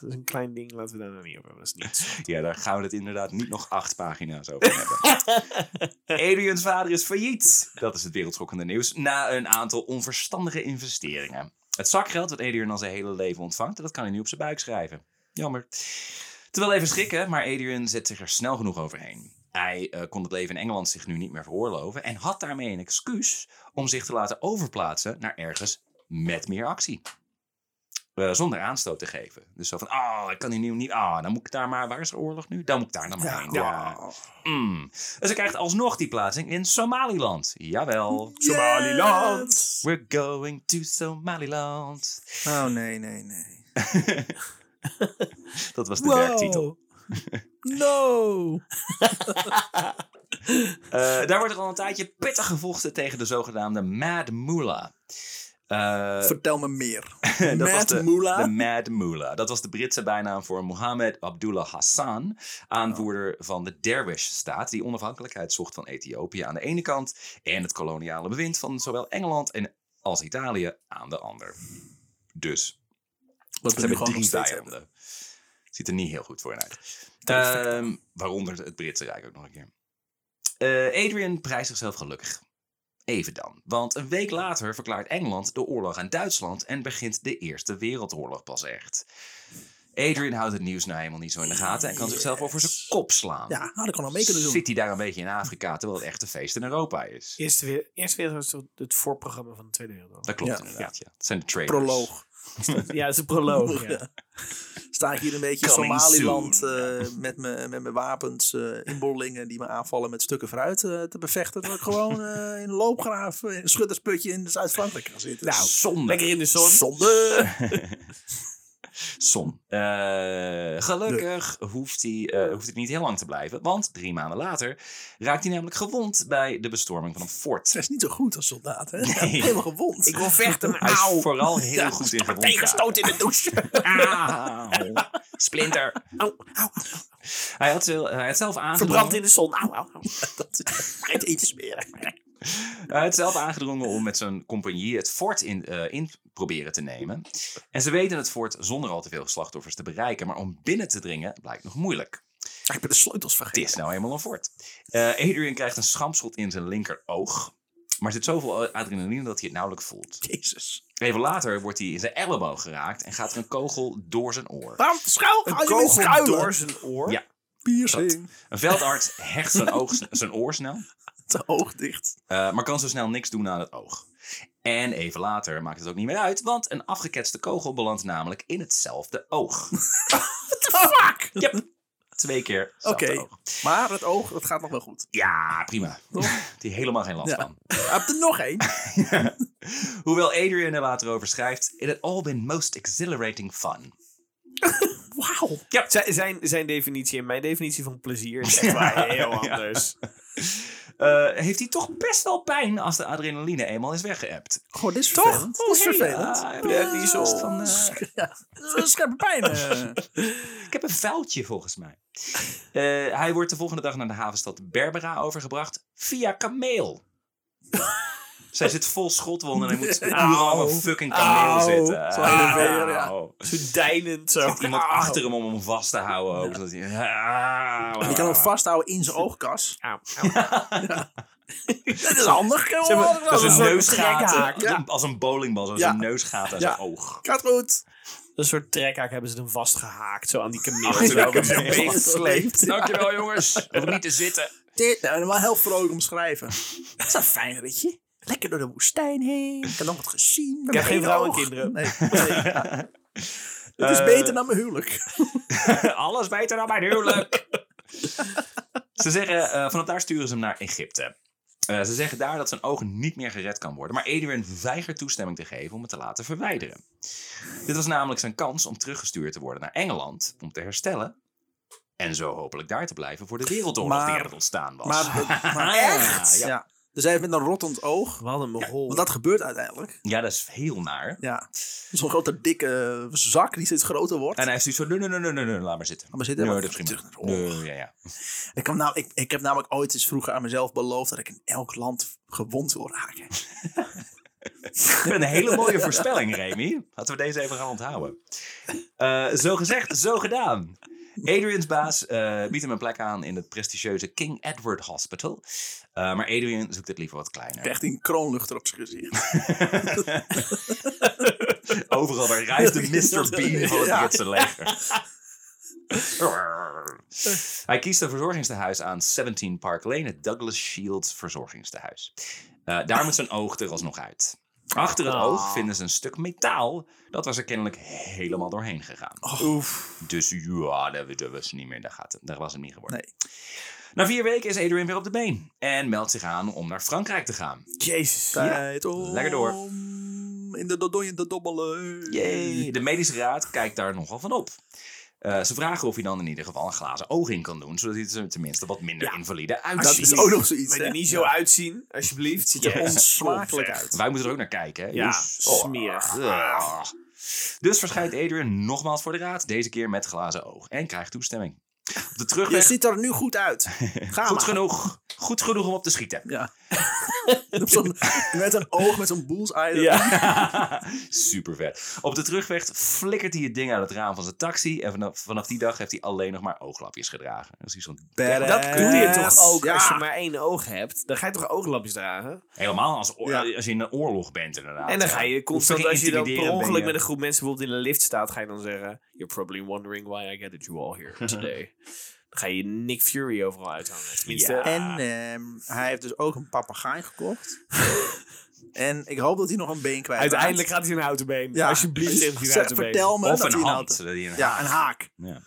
Dat is een klein ding, laten we daar nou niet over hebben. Dat is niets.
Ja, daar gaan we het inderdaad niet nog acht pagina's over hebben. Adrian's vader is failliet. Dat is het wereldschokkende nieuws. Na een aantal onverstandige investeringen. Het zakgeld dat Adrian al zijn hele leven ontvangt, dat kan hij nu op zijn buik schrijven. Jammer. Terwijl even schrikken, maar Adrian zet zich er snel genoeg overheen. Hij eh, kon het leven in Engeland zich nu niet meer veroorloven en had daarmee een excuus om zich te laten overplaatsen naar ergens met meer actie. Eh, zonder aanstoot te geven. Dus zo van, ah, ik kan hier nu niet, ah, dan moet ik daar maar, waar is de oorlog nu? Dan moet ik daar dan maar
Ja,
heen. Ja. Mm. Dus hij krijgt alsnog die plaatsing in Somaliland. Jawel.
Somaliland.
We're going to Somaliland.
Oh, nee, nee, nee.
Dat was de werktitel.
No.
Eh, daar wordt er al een tijdje pittig gevochten tegen de zogenaamde Mad Mullah. Eh,
Vertel me meer.
dat was
Mad
de,
Mullah.
de Mad Mullah. Dat was de Britse bijnaam voor Mohammed Abdullah Hassan,
Oh.
aanvoerder van de Derwish-staat, die onafhankelijkheid zocht van Ethiopië aan de ene kant en het koloniale bewind van zowel Engeland en als Italië aan de ander. Dus
Wat
ze
we nu
hebben
gewoon nog
drie
steeds
vijanden.
hebben.
Ziet er niet heel goed voor in uit.
Dat is
Ehm, waaronder het Britse Rijk ook nog een keer. Eh, Adrian prijst zichzelf gelukkig. Even dan. Want een week later verklaart Engeland de oorlog aan Duitsland en begint de Eerste Wereldoorlog pas echt. Adrian houdt het nieuws nou helemaal niet zo in de gaten en kan zichzelf
Yes.
over zijn kop slaan.
Ja, had ik al nog mee kunnen doen.
Zit hij daar een beetje in Afrika terwijl het echt een feest in Europa is?
Eerste weer, eerst weer was het het voorprogramma van de Tweede Wereldoorlog.
Dat klopt
Ja.
inderdaad. Ja. Het zijn de trailers.
Proloog.
Ja, het is een proloog. ja.
Sta ik hier een beetje in
Coming
Somaliland eh, met me- met mijn wapens, eh, inboorlingen die me aanvallen met stukken fruit eh, te bevechten. Dat ik gewoon eh, in een loopgraaf, eh, in een Nou,
Nou.
schuttersputje in Zuid-Frankrijk kan zitten.
Nou,
Zonde.
Lekker in de zon.
zonde.
Son. Eh, gelukkig hoeft hij, eh, hoeft hij niet heel lang te blijven, want drie maanden later raakt hij namelijk gewond bij de bestorming van een fort.
Hij is niet zo goed als soldaat, hè?
Nee.
Hij is helemaal gewond.
Ik wil vechten, maar
Hij is
auw.
vooral heel
Ja,
goed in gewond.
Tegenstoot in de douche.
Auw. Splinter.
Auw, auw.
Hij had, wel- hij had zelf aangedrongen.
Verbrand in de zon. Auw, auw, auw.
Het eten smeren.
Hij had zelf aangedrongen om met zijn compagnie het fort in, eh, in proberen te nemen. En ze weten het fort zonder al te veel slachtoffers te bereiken, maar om binnen te dringen blijkt nog moeilijk.
Ik ben de sleutels
Het
vergeten.
is nou eenmaal een fort. Eh, Adrian krijgt een schampschot in zijn linkeroog. Maar er zit zoveel adrenaline dat hij het nauwelijks voelt.
Jezus.
Even later wordt hij in zijn elleboog geraakt en gaat er een kogel door zijn oor.
Waarom schuil?
Een
Ga je niet
kogel
schuilen?
door zijn oor.
Ja.
piercing.
Een veldarts hecht zijn, oog, zijn oor snel.
Te oog dicht.
Eh, maar kan zo snel niks doen aan het oog. En even later maakt het ook niet meer uit, want een afgeketste kogel belandt namelijk in hetzelfde oog.
Fuck!
Yep. Twee keer hetzelfde
Oké.
oog.
Maar het oog, dat gaat nog wel goed.
Ja, prima. Die heeft helemaal geen last
Ja.
van.
Hij hebt er nog één.
Hoewel Adrian er later over schrijft, it had all been most exhilarating fun.
Wauw.
Zijn, zijn, zijn definitie en mijn definitie van plezier is echt wel heel anders.
Eh, heeft hij toch best wel pijn als de adrenaline eenmaal is weggeëpt.
Goh, dit is
Toch?
vervelend. Dit is
hey,
vervelend.
ah, heb je niet zo last van, eh,
Sch- ja. Eh, Scherpe pijn. eh.
Ik heb een vuiltje volgens mij. Eh, hij wordt de volgende dag naar de havenstad Berbera overgebracht via kameel. Zij zit vol schotwonden en hij moet urenlang op een fucking kameel
Auw.
zitten.
Zo heen en weer, ja.
Auw.
Zo deinend zo.
Zit iemand achter hem om hem vast te houden. Ook, zodat hij, Ah. Auw.
Je kan hem vasthouden in zijn oogkas.
Auw, auw.
Dat is handig. Kan
Zeg maar,
wel handig
Als
doen.
een
soort
neusgaat,
trekhaak,
ja.
als een bowlingbal, als
Ja.
een neusgaat aan
Ja.
zijn oog.
Gaat goed.
Een soort trekhaak hebben ze hem vastgehaakt. Zo aan die
Oh,
kameel.
Achter de
Zo
kameel.
zo meegesleept.
Dankjewel jongens, hoef niet te zitten.
Dit, nou, wel heel vrolijk omschrijven. Dat is een fijn ritje. Lekker door de woestijn heen. Ik heb nog wat gezien. Ik
heb geen vrouw en kinderen.
Nee. nee. Het is
Eh,
beter dan mijn huwelijk.
Alles beter dan mijn huwelijk. ze zeggen, eh, vanaf daar sturen ze hem naar Egypte. Eh, ze zeggen daar dat zijn ogen niet meer gered kan worden. Maar Edwin weigert toestemming te geven om het te laten verwijderen. Dit was namelijk zijn kans om teruggestuurd te worden naar Engeland. Om te herstellen. En zo hopelijk daar te blijven voor de wereldoorlog
Maar-
die er ontstaan was.
Maar, maar
Ja,
echt?
Ja,
Ja. Dus hij heeft met een rottend oog.
Wat een mogol.
Want dat gebeurt uiteindelijk.
Ja, dat is heel naar.
Ja. Zo'n grote dikke zak die steeds groter wordt.
En hij heeft zoiets van, nee, nee, nee, nee, nee, laat maar zitten.
Laat maar zitten,
Nee,
want
dat is
terug
prima.
naar de
Nee, ja, ja.
Ik, heb nou, ik, ik heb namelijk ooit eens vroeger aan mezelf beloofd dat ik in elk land gewond wil raken.
Een hele mooie voorspelling, Remy. Laten we deze even gaan onthouden. Eh, zo gezegd, zo gedaan. Adrian's baas eh, biedt hem een plek aan in het prestigieuze King Edward Hospital. Eh, maar Adrian zoekt het liever wat
Ik
kleiner.
krijg die een kroonluchter op zijn gezicht.
Overal waar reist de Mr. Bean van het
Ja.
Britse leger. Hij kiest een verzorgingstehuis aan 17 Park Lane, het Douglas Shields verzorgingstehuis. Eh, daar moet zijn oog er alsnog uit. Achter het
Ah.
oog vinden ze een stuk metaal. Dat was er kennelijk helemaal doorheen gegaan.
Oh, Oef.
Dus ja, dat, dat was niet meer in de gaten. Daar was het niet geworden.
Nee.
Na vier weken is Adrian weer op de been. En meldt zich aan om naar Frankrijk te gaan.
Jezus.
Tijd om
lekker door.
In de dodonje te dobbelen.
Yay. De medische raad kijkt daar nogal van op. Eh, ze vragen of hij dan in ieder geval een glazen oog in kan doen. Zodat hij er tenminste wat minder
Ja.
invalide
Dat
uitziet.
is ook nog zoiets.
Wil je
hè?
er niet zo uitzien, alsjeblieft? Ziet er
Ja.
onsmakelijk
Ja.
uit.
Wij moeten er ook naar kijken. Hè?
Ja,
Oes.
smerig.
ah. Dus verschijnt Adrian nogmaals voor de raad. Deze keer met glazen oog. En krijgt toestemming. Op de
Je
terugweg.
ziet er nu goed uit. Ga
Goed
maar.
genoeg. Goed genoeg om op te schieten.
Ja. Op zo'n- met een oog, met zo'n bullseye.
Ja.
Super vet. Op de terugweg flikkert hij het ding uit het raam van zijn taxi. En vanaf, vanaf die dag heeft hij alleen nog maar ooglapjes gedragen. Dat is hij zo'n
Badass.
Dat doe je toch ook
Ja.
als je maar één oog hebt? Dan ga je toch ooglapjes dragen?
Helemaal als, oor-
Ja.
als je in een oorlog bent, inderdaad.
En dan
Ja.
ga je
Hoe
constant, als je dan per
intimiderend ben
ongeluk
je.
met een groep mensen bijvoorbeeld in een lift staat, ga je dan zeggen: You're probably wondering why I gathered you all here today. dan ga je Nick Fury overal uithangen. Tenminste,
Ja.
En ehm, hij heeft dus ook een papegaai gekocht. en ik hoop dat hij nog een been kwijt raakt.
uiteindelijk gaat hij een houten been.
Ja.
Alsjeblieft,
Dus
tegen die
zeg-
houten been.
Vertel me
Of
dat
een
hij
hand.
nou-
zodat hij een
Ja, een haak.
Ja.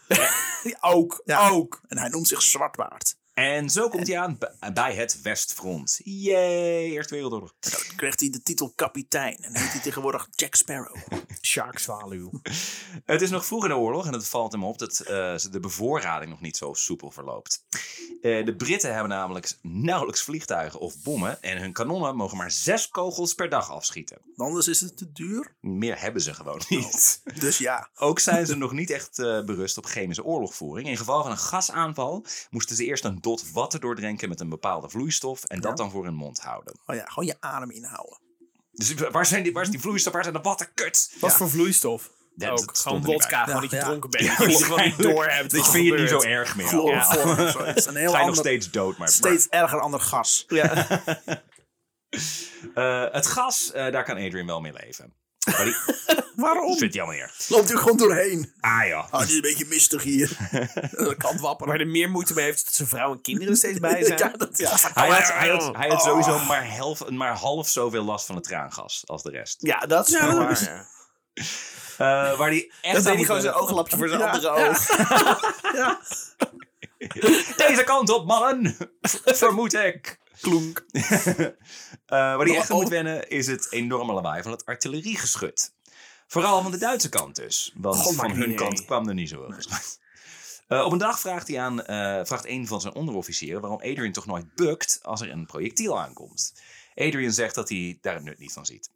Ook,
Ja.
ook.
En hij noemt zich Zwartbaard.
En zo komt hij aan b- bij het Westfront. Yay, Eerste Wereldoorlog.
Dan kreeg hij de titel kapitein. En heet hij tegenwoordig Jack Sparrow.
Shark Zwaluw.
Het is nog vroeg in de oorlog en het valt hem op dat eh, ze de bevoorrading nog niet zo soepel verloopt. Eh, de Britten hebben namelijk nauwelijks vliegtuigen of bommen en hun kanonnen mogen maar zes kogels per dag afschieten.
Anders is het te duur.
Meer hebben ze gewoon
Oh.
niet.
Dus ja,
Ook zijn ze nog niet echt eh, berust op chemische oorlogvoering. In geval van een gasaanval moesten ze eerst een dot water doordrinken met een bepaalde vloeistof en dat
Ja.
dan voor hun mond houden.
oh ja gewoon je adem inhouden.
Dus waar, zijn die, waar is die vloeistof? Waar zijn de watten? Kut!
Wat voor vloeistof?
Ja, dat
ook,
stond
gewoon
er niet bij.
wodka, gewoon dat je
Ja, ja.
dronken bent. dat je gewoon niet door hebt.
Dat vind je het niet zo erg meer.
Chloor-
Ja.
chloor- of zoiets. Een heel
Ga je
ander,
nog steeds dood, maar...
steeds erger ander gas.
Ja.
Eh, het gas, eh, daar kan Adrian wel mee leven. Maar die
Waarom?
vindt hij allemaal niet erg.
Loopt u gewoon doorheen.
Ah ja.
Ah, het is een beetje mistig hier. Dat kan wapperen.
Waar er meer moeite mee heeft is dat zijn vrouw en kinderen er steeds bij zijn.
Ja, dat, ja.
Hij
maar-
had, hij had, hij had
Oh.
sowieso maar, helf, maar half zoveel last van het traangas als de rest.
Ja, dat is
Ja,
wel
dat
waar.
is-
ja.
Eh, waar die echt
Dat
aan
deed hij
moet
gewoon zijn
wennen.
ooglapje voor zijn
Ja,
andere
ja.
oog.
Deze kant op, mannen! Vermoed ik.
Klonk.
Eh, waar die echt aan
Oh.
moet wennen is het enorme lawaai van het artilleriegeschut. Vooral van de Duitse kant dus. Want
God,
van
maar
hun
nee.
kant kwam er niet zo heel veel. Eh, op een dag vraagt, hij aan, eh, vraagt een van zijn onderofficieren waarom Adrian toch nooit bukt als er een projectiel aankomt. Adrian zegt dat hij daar het nut niet van ziet.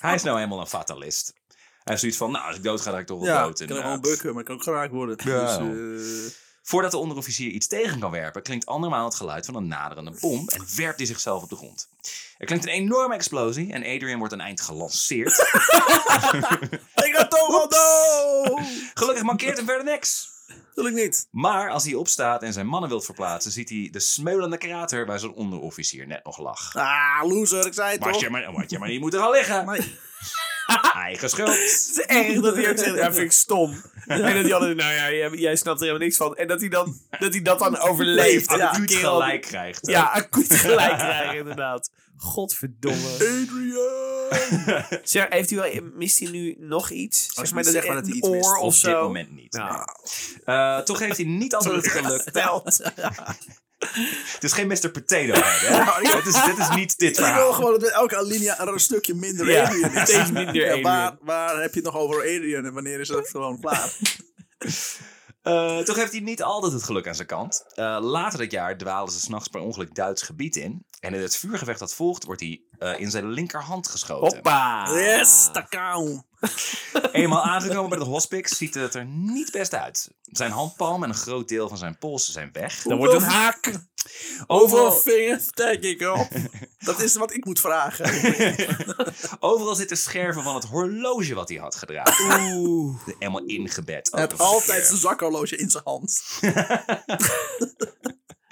hij is nou helemaal een fatalist. Hij heeft zoiets van, nou als ik dood ga, dan ga ik toch wel
Ja, ik
dood.
kan
En,
gewoon
eh,
bukken, maar ik kan ook geraakt worden.
Ja.
Dus, eh,
Voordat de onderofficier iets tegen kan werpen, klinkt andermaal het geluid van een naderende bom en werpt hij zichzelf op de grond. Er klinkt een enorme explosie en Adrian wordt een eind gelanceerd. eh,
ik had Ronaldo!
Gelukkig mankeert hem verder niks.
Natuurlijk niet.
Maar als hij opstaat en zijn mannen wilt verplaatsen, ziet hij de smeulende krater waar zijn onderofficier net nog lag.
Ah, loser, ik zei het
Wat
toch.
je maar, wat je maar niet moet er al liggen.
Nee.
Eigen schuld.
Het is erg dat hij ook zegt, ja, vind ik stom. En dat die anderen, nou ja, jij, jij snapt er helemaal niks van. En dat hij, dan, dat, hij dat dan overleeft.
Leeft
Ja,
acuut
kerel.
gelijk krijgt.
Ja, acuut gelijk krijgen inderdaad.
Eh.
Godverdomme.
Adrian!
Zeg, heeft u wel, mist hij nu nog iets?
Als je niet zegt maar dat hij iets
een
mist.
oor
Op
of zo.
dit moment niet.
Ja.
Eh, toch heeft hij niet altijd het geluk
Telt.
Het is geen Mr. Potato Head, hè? Het is, dit is niet dit
Ik wil
verhaal.
gewoon dat bij elke alinea er een stukje minder
Ja,
Adrian is.
steeds minder Adrian.
waar, waar heb je het nog over Adrian en wanneer is het gewoon klaar?
Eh, toch heeft hij niet altijd het geluk aan zijn kant. Eh, later dat jaar dwalen ze s'nachts per ongeluk Duits gebied in. En in het vuurgevecht dat volgt, wordt hij eh, in zijn linkerhand geschoten.
Ah.
Hoppa.
eh. Yes, takao.
Eenmaal aangekomen bij het hospice ziet het er niet best uit. Zijn handpalm en een groot deel van zijn polsen zijn weg.
Dan wordt het een haak.
Overal
Overal,
vingers steek ik op. Dat is wat ik moet vragen.
overal zitten scherven van het horloge wat hij had gedragen.
Oeh.
Helemaal ingebed. Oh,
Hij heeft
ook nog een
altijd
keer.
zijn zakhorloge in zijn hand.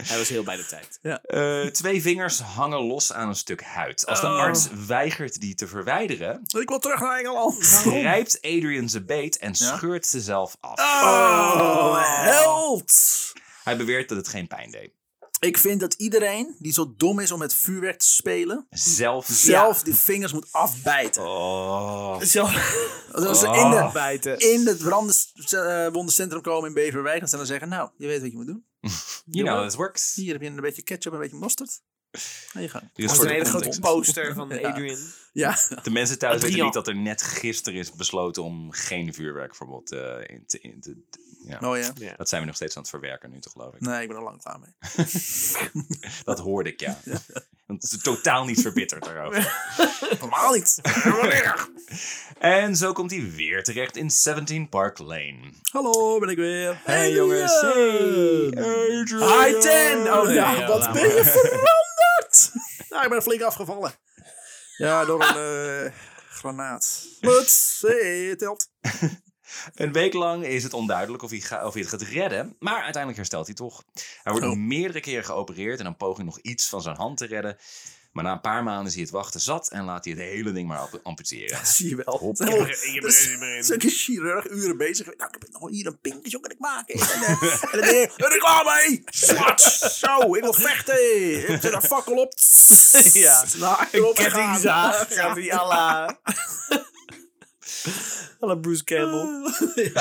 Hij was heel bij de tijd.
Eh, twee vingers hangen los aan een stuk huid. Als de
Oh.
arts weigert die te verwijderen,
Ik wil terug naar Engeland.
grijpt Adrian ze beet en
Ja?
scheurt ze zelf af.
Oh, held!
Hij beweert dat het geen pijn deed.
Ik vind dat iedereen die zo dom is om met vuurwerk te spelen,
Zelf.
zelf die vingers moet afbijten.
Oh.
Zo.
Als ze
Oh.
in de,
Bijten.
in het brandes- eh, wondencentrum komen in Beverwijk, dan zullen ze zeggen, nou, je weet wat je moet doen.
You know, it works.
Hier heb je een beetje ketchup en een beetje mosterd. Ga je gang.
Dit
Dat
is
was
voor
een
de,
hele grote
context.
poster van Adrian.
Ja,
de mensen thuis weten
Adrian.
niet dat er net gisteren is besloten om geen vuurwerkverbod eh, in te... In te ja.
oh ja.
Ja.
Dat zijn we nog steeds aan het verwerken nu, toch geloof ik.
Nee, ik ben er lang klaar mee.
Dat hoorde ik, ja. Want het is totaal niet verbitterd daarover.
Normaal niet.
En zo komt hij weer terecht in 17 Park Lane.
Hallo, ben ik weer. eh.
Hey jongens, hey! Adrian.
Hi Ten! Oh nee,
ja,
ja,
wat
laat
ben
maar.
je veranderd? nou, ik ben flink afgevallen. Ja, door een eh, granaat. Let's see, het telt.
Een week lang is het onduidelijk of hij, ga- of hij het gaat redden, maar uiteindelijk herstelt hij toch. Hij wordt
Oh.
meerdere keren geopereerd en een poging nog iets van zijn hand te redden. Maar na een paar maanden is hij het wachten zat en laat hij het hele ding maar amp- amputeren.
Dat zie je wel.
Hop.
Het is
Ik
helemaal-
begin- ik
er is
begin- ik begin.
Zulke chirurg uren bezig. geweest. Nou, ik heb nog hier een pink, zo kan ik maken. En, eh, en dan denk ik, ik klaar mee. Swat, zo, ik wil vechten. Ik zet een fakkel op.
Ja.
nou,
Een kettingzaag. Gaat die à la... Hallo Bruce Campbell.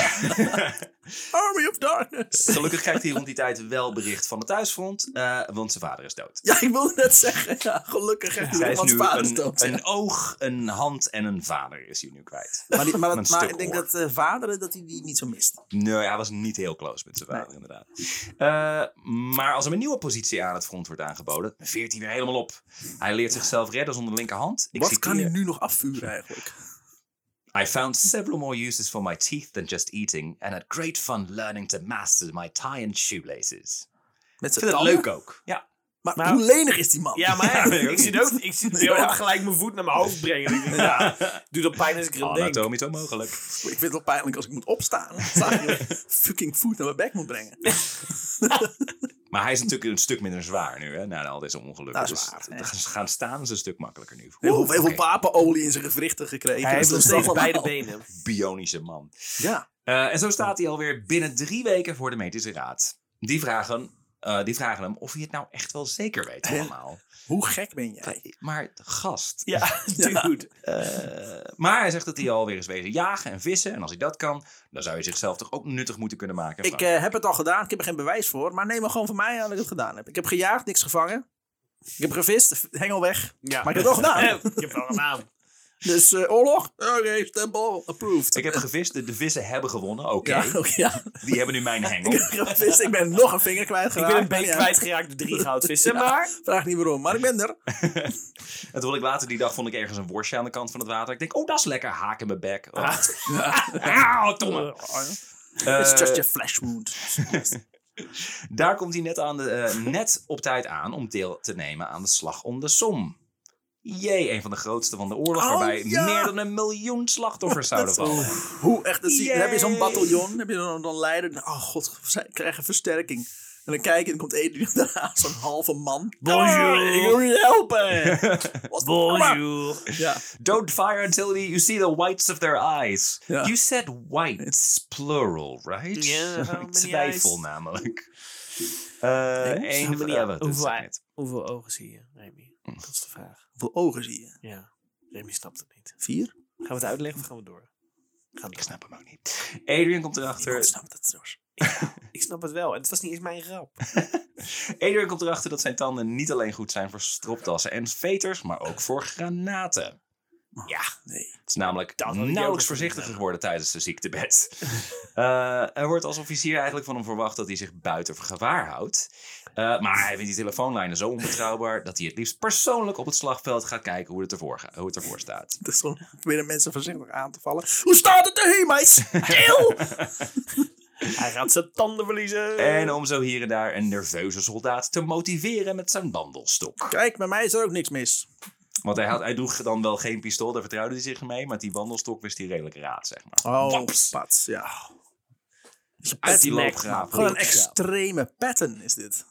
Army of Darkness.
Gelukkig krijgt hij rond die tijd wel bericht van het thuisfront, eh, want zijn vader is dood.
Ja, ik wilde net zeggen. Ja, gelukkig heeft
Hij
hij
is
iemand
nu
vader
een,
dood.
een oog, een hand en een vader is hij nu kwijt.
Maar, die, maar, dat-
Een
maar
stuk
ik denk
oor.
dat eh, vaderen dat hij die niet zo mist.
Nee, hij was niet heel close met zijn vader, inderdaad. Eh, maar als hem een nieuwe positie aan het front wordt aangeboden, veert hij weer helemaal op. Hij leert zichzelf redden zonder linkerhand. Ik eh,
Wat
citeer,
kan hij nu nog afvuren eigenlijk?
I found several more uses for my teeth than just eating, and had great fun learning to master my tie and shoelaces.
Met
Ik
zijn
vind het
tanden?
leuk ook. Ja.
Maar,
Maar-
hoe lenig is die man?
Ja, maar
Ja, weet ik
ik,
ook
zie
niet.
het ook, ik zie de
Ja.
gelijk mijn voet naar mijn hoofd brengen. Ik denk, ja, doe Oh, dat pijn als ik erin denk.
Ah, Anatomisch onmogelijk.
Ik vind het wel pijnlijk als ik moet opstaan. Sta ik hier fucking voet naar mijn bek moet brengen.
Maar hij is natuurlijk een stuk minder zwaar nu, hè, na al deze ongelukken.
Dat is waar,
dus
hè.
het- het gaan staan is een stuk makkelijker nu.
Heel
Oeh,
veel
oké,
papenolie in zijn gewrichten gekregen.
Hij
Dus
heeft
dat
nog
is
steeds
wel
beide
allemaal.
benen.
Bionische man.
Ja.
Eh, en zo staat hij alweer binnen drie weken voor de medische raad. Die vragen, eh, die vragen hem of hij het nou echt wel zeker weet allemaal.
Hoe gek ben jij?
Maar gast.
Ja, dude.
eh, maar hij zegt dat hij alweer is wezen jagen en vissen. En als hij dat kan, dan zou hij zichzelf toch ook nuttig moeten kunnen maken.
Ik eh, heb het al gedaan, ik heb er geen bewijs voor. Maar neem me gewoon van mij aan dat ik het gedaan heb. Ik heb gejaagd, niks gevangen. Ik heb gevist, hengel weg.
Ja.
Maar ik heb het wel gedaan.
Eh, Ik heb wel een naam.
Dus eh, oorlog? Oké, stempel, approved.
Ik heb gevist, de, de vissen hebben gewonnen. Oké,
eh, ja, oké, ja.
die hebben nu mijn hengel.
Ik heb gevist, ik ben nog een vinger
Oh. Ik
kwijtgeraakt.
ben een been
Ja,
kwijtgeraakt door drie goudvissen,
Ja.
maar...
Vraag niet waarom, maar ik ben er.
En toen vond ik later die dag vond ik ergens een worstje aan de kant van het water. Ik denk, oh, dat is lekker. Haak in mijn bek. Oh. Ah, oh, domme.
It's just
Eh,
your flesh wound.
daar komt hij net, aan de, eh, net op tijd aan om deel te nemen aan de slag om de som. Jee, een van de grootste van de oorlog,
Oh,
waarbij
ja.
meer dan een miljoen slachtoffers zouden vallen.
Hoe echt, dat zie je- dan heb je zo'n
Yay.
bataljon, heb je dan, dan leider. nou, Oh god, zij krijgen versterking. En dan kijk je en komt Adrian daarna, zo'n halve man.
Bonjour.
Ah, ik wil je helpen. Wat-
Bonjour.
Ja,
Don't fire until the- you see the whites of their eyes.
Ja.
You said whites, plural, right?
Ja, how
Ik
many
twijfel
eyes?
namelijk. Eh
how
een van
many-
ja, dat
dus,
is
hoeveel
het dus
eyes?
niet.
Hoeveel ogen zie je, Remy?
Hm.
Dat is de vraag.
hoeveel ogen zie je?
Ja, Remy snapt het niet.
Vier?
Gaan we het uitleggen of gaan we door? Gaan we
Ik
door.
snap hem ook niet. Adrian
Niemand
komt erachter
snapt het nou trouwens.
Ik snap het wel. En het was niet eens mijn grap.
Adrian komt erachter dat zijn tanden niet alleen goed zijn voor stropdassen en veters, maar ook voor granaten. Ja,
Nee.
het is namelijk
Dat had ik ook nog
nauwelijks
niet
voorzichtiger
gedaan.
geworden tijdens zijn ziektebed. Eh, er wordt als officier eigenlijk van hem verwacht dat hij zich buiten gewaar houdt. Eh, maar hij vindt die telefoonlijnen zo onbetrouwbaar dat hij het liefst persoonlijk op het slagveld gaat kijken hoe het ervoor, ga- hoe het ervoor staat.
Het is gewoon Dus proberen mensen voorzichtig aan te vallen. Hoe staat het erheen, meis? Heel!
Hij gaat zijn tanden verliezen.
En om zo hier en daar een nerveuze soldaat te motiveren met zijn wandelstok.
Kijk, bij mij is er ook niks mis.
Want hij, had, hij droeg dan wel geen pistool, daar vertrouwde hij zich mee. Maar die wandelstok wist hij redelijk raad, zeg maar.
Oh,
Waps.
pats, ja.
Uit die
Pet
loopgraaf.
Gewoon een extreme pattern is dit.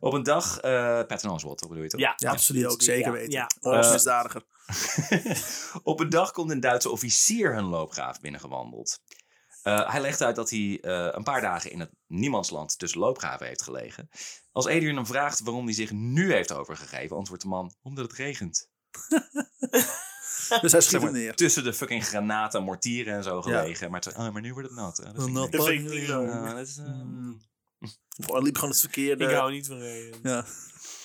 Op een dag, eh Patton Oswalt, bedoel je toch?
Ja,
Ja, absoluut. ook zeker
Ja,
weten. Oh,
ja.
Eh,
Oorlogsmisdadiger.
Op een dag komt een Duitse officier hun loopgraaf binnengewandeld. Eh, hij legt uit dat hij eh, een paar dagen in het niemandsland tussen loopgraven heeft gelegen. Als Adrian hem vraagt waarom hij zich nu heeft overgegeven, antwoordt de man: omdat het regent.
dus hij
Zeg
schiet
maar,
hem neer.
tussen de fucking granaten, mortieren en zo gelegen. Maar, het- oh, maar nu wordt het nat. Oh, dat vind ik niks.
Dat vind ik niet leuk.
Oh, dat is, eh,
Of Oh, hij liep gewoon het verkeerde.
Ik hou niet van regen.
Ja.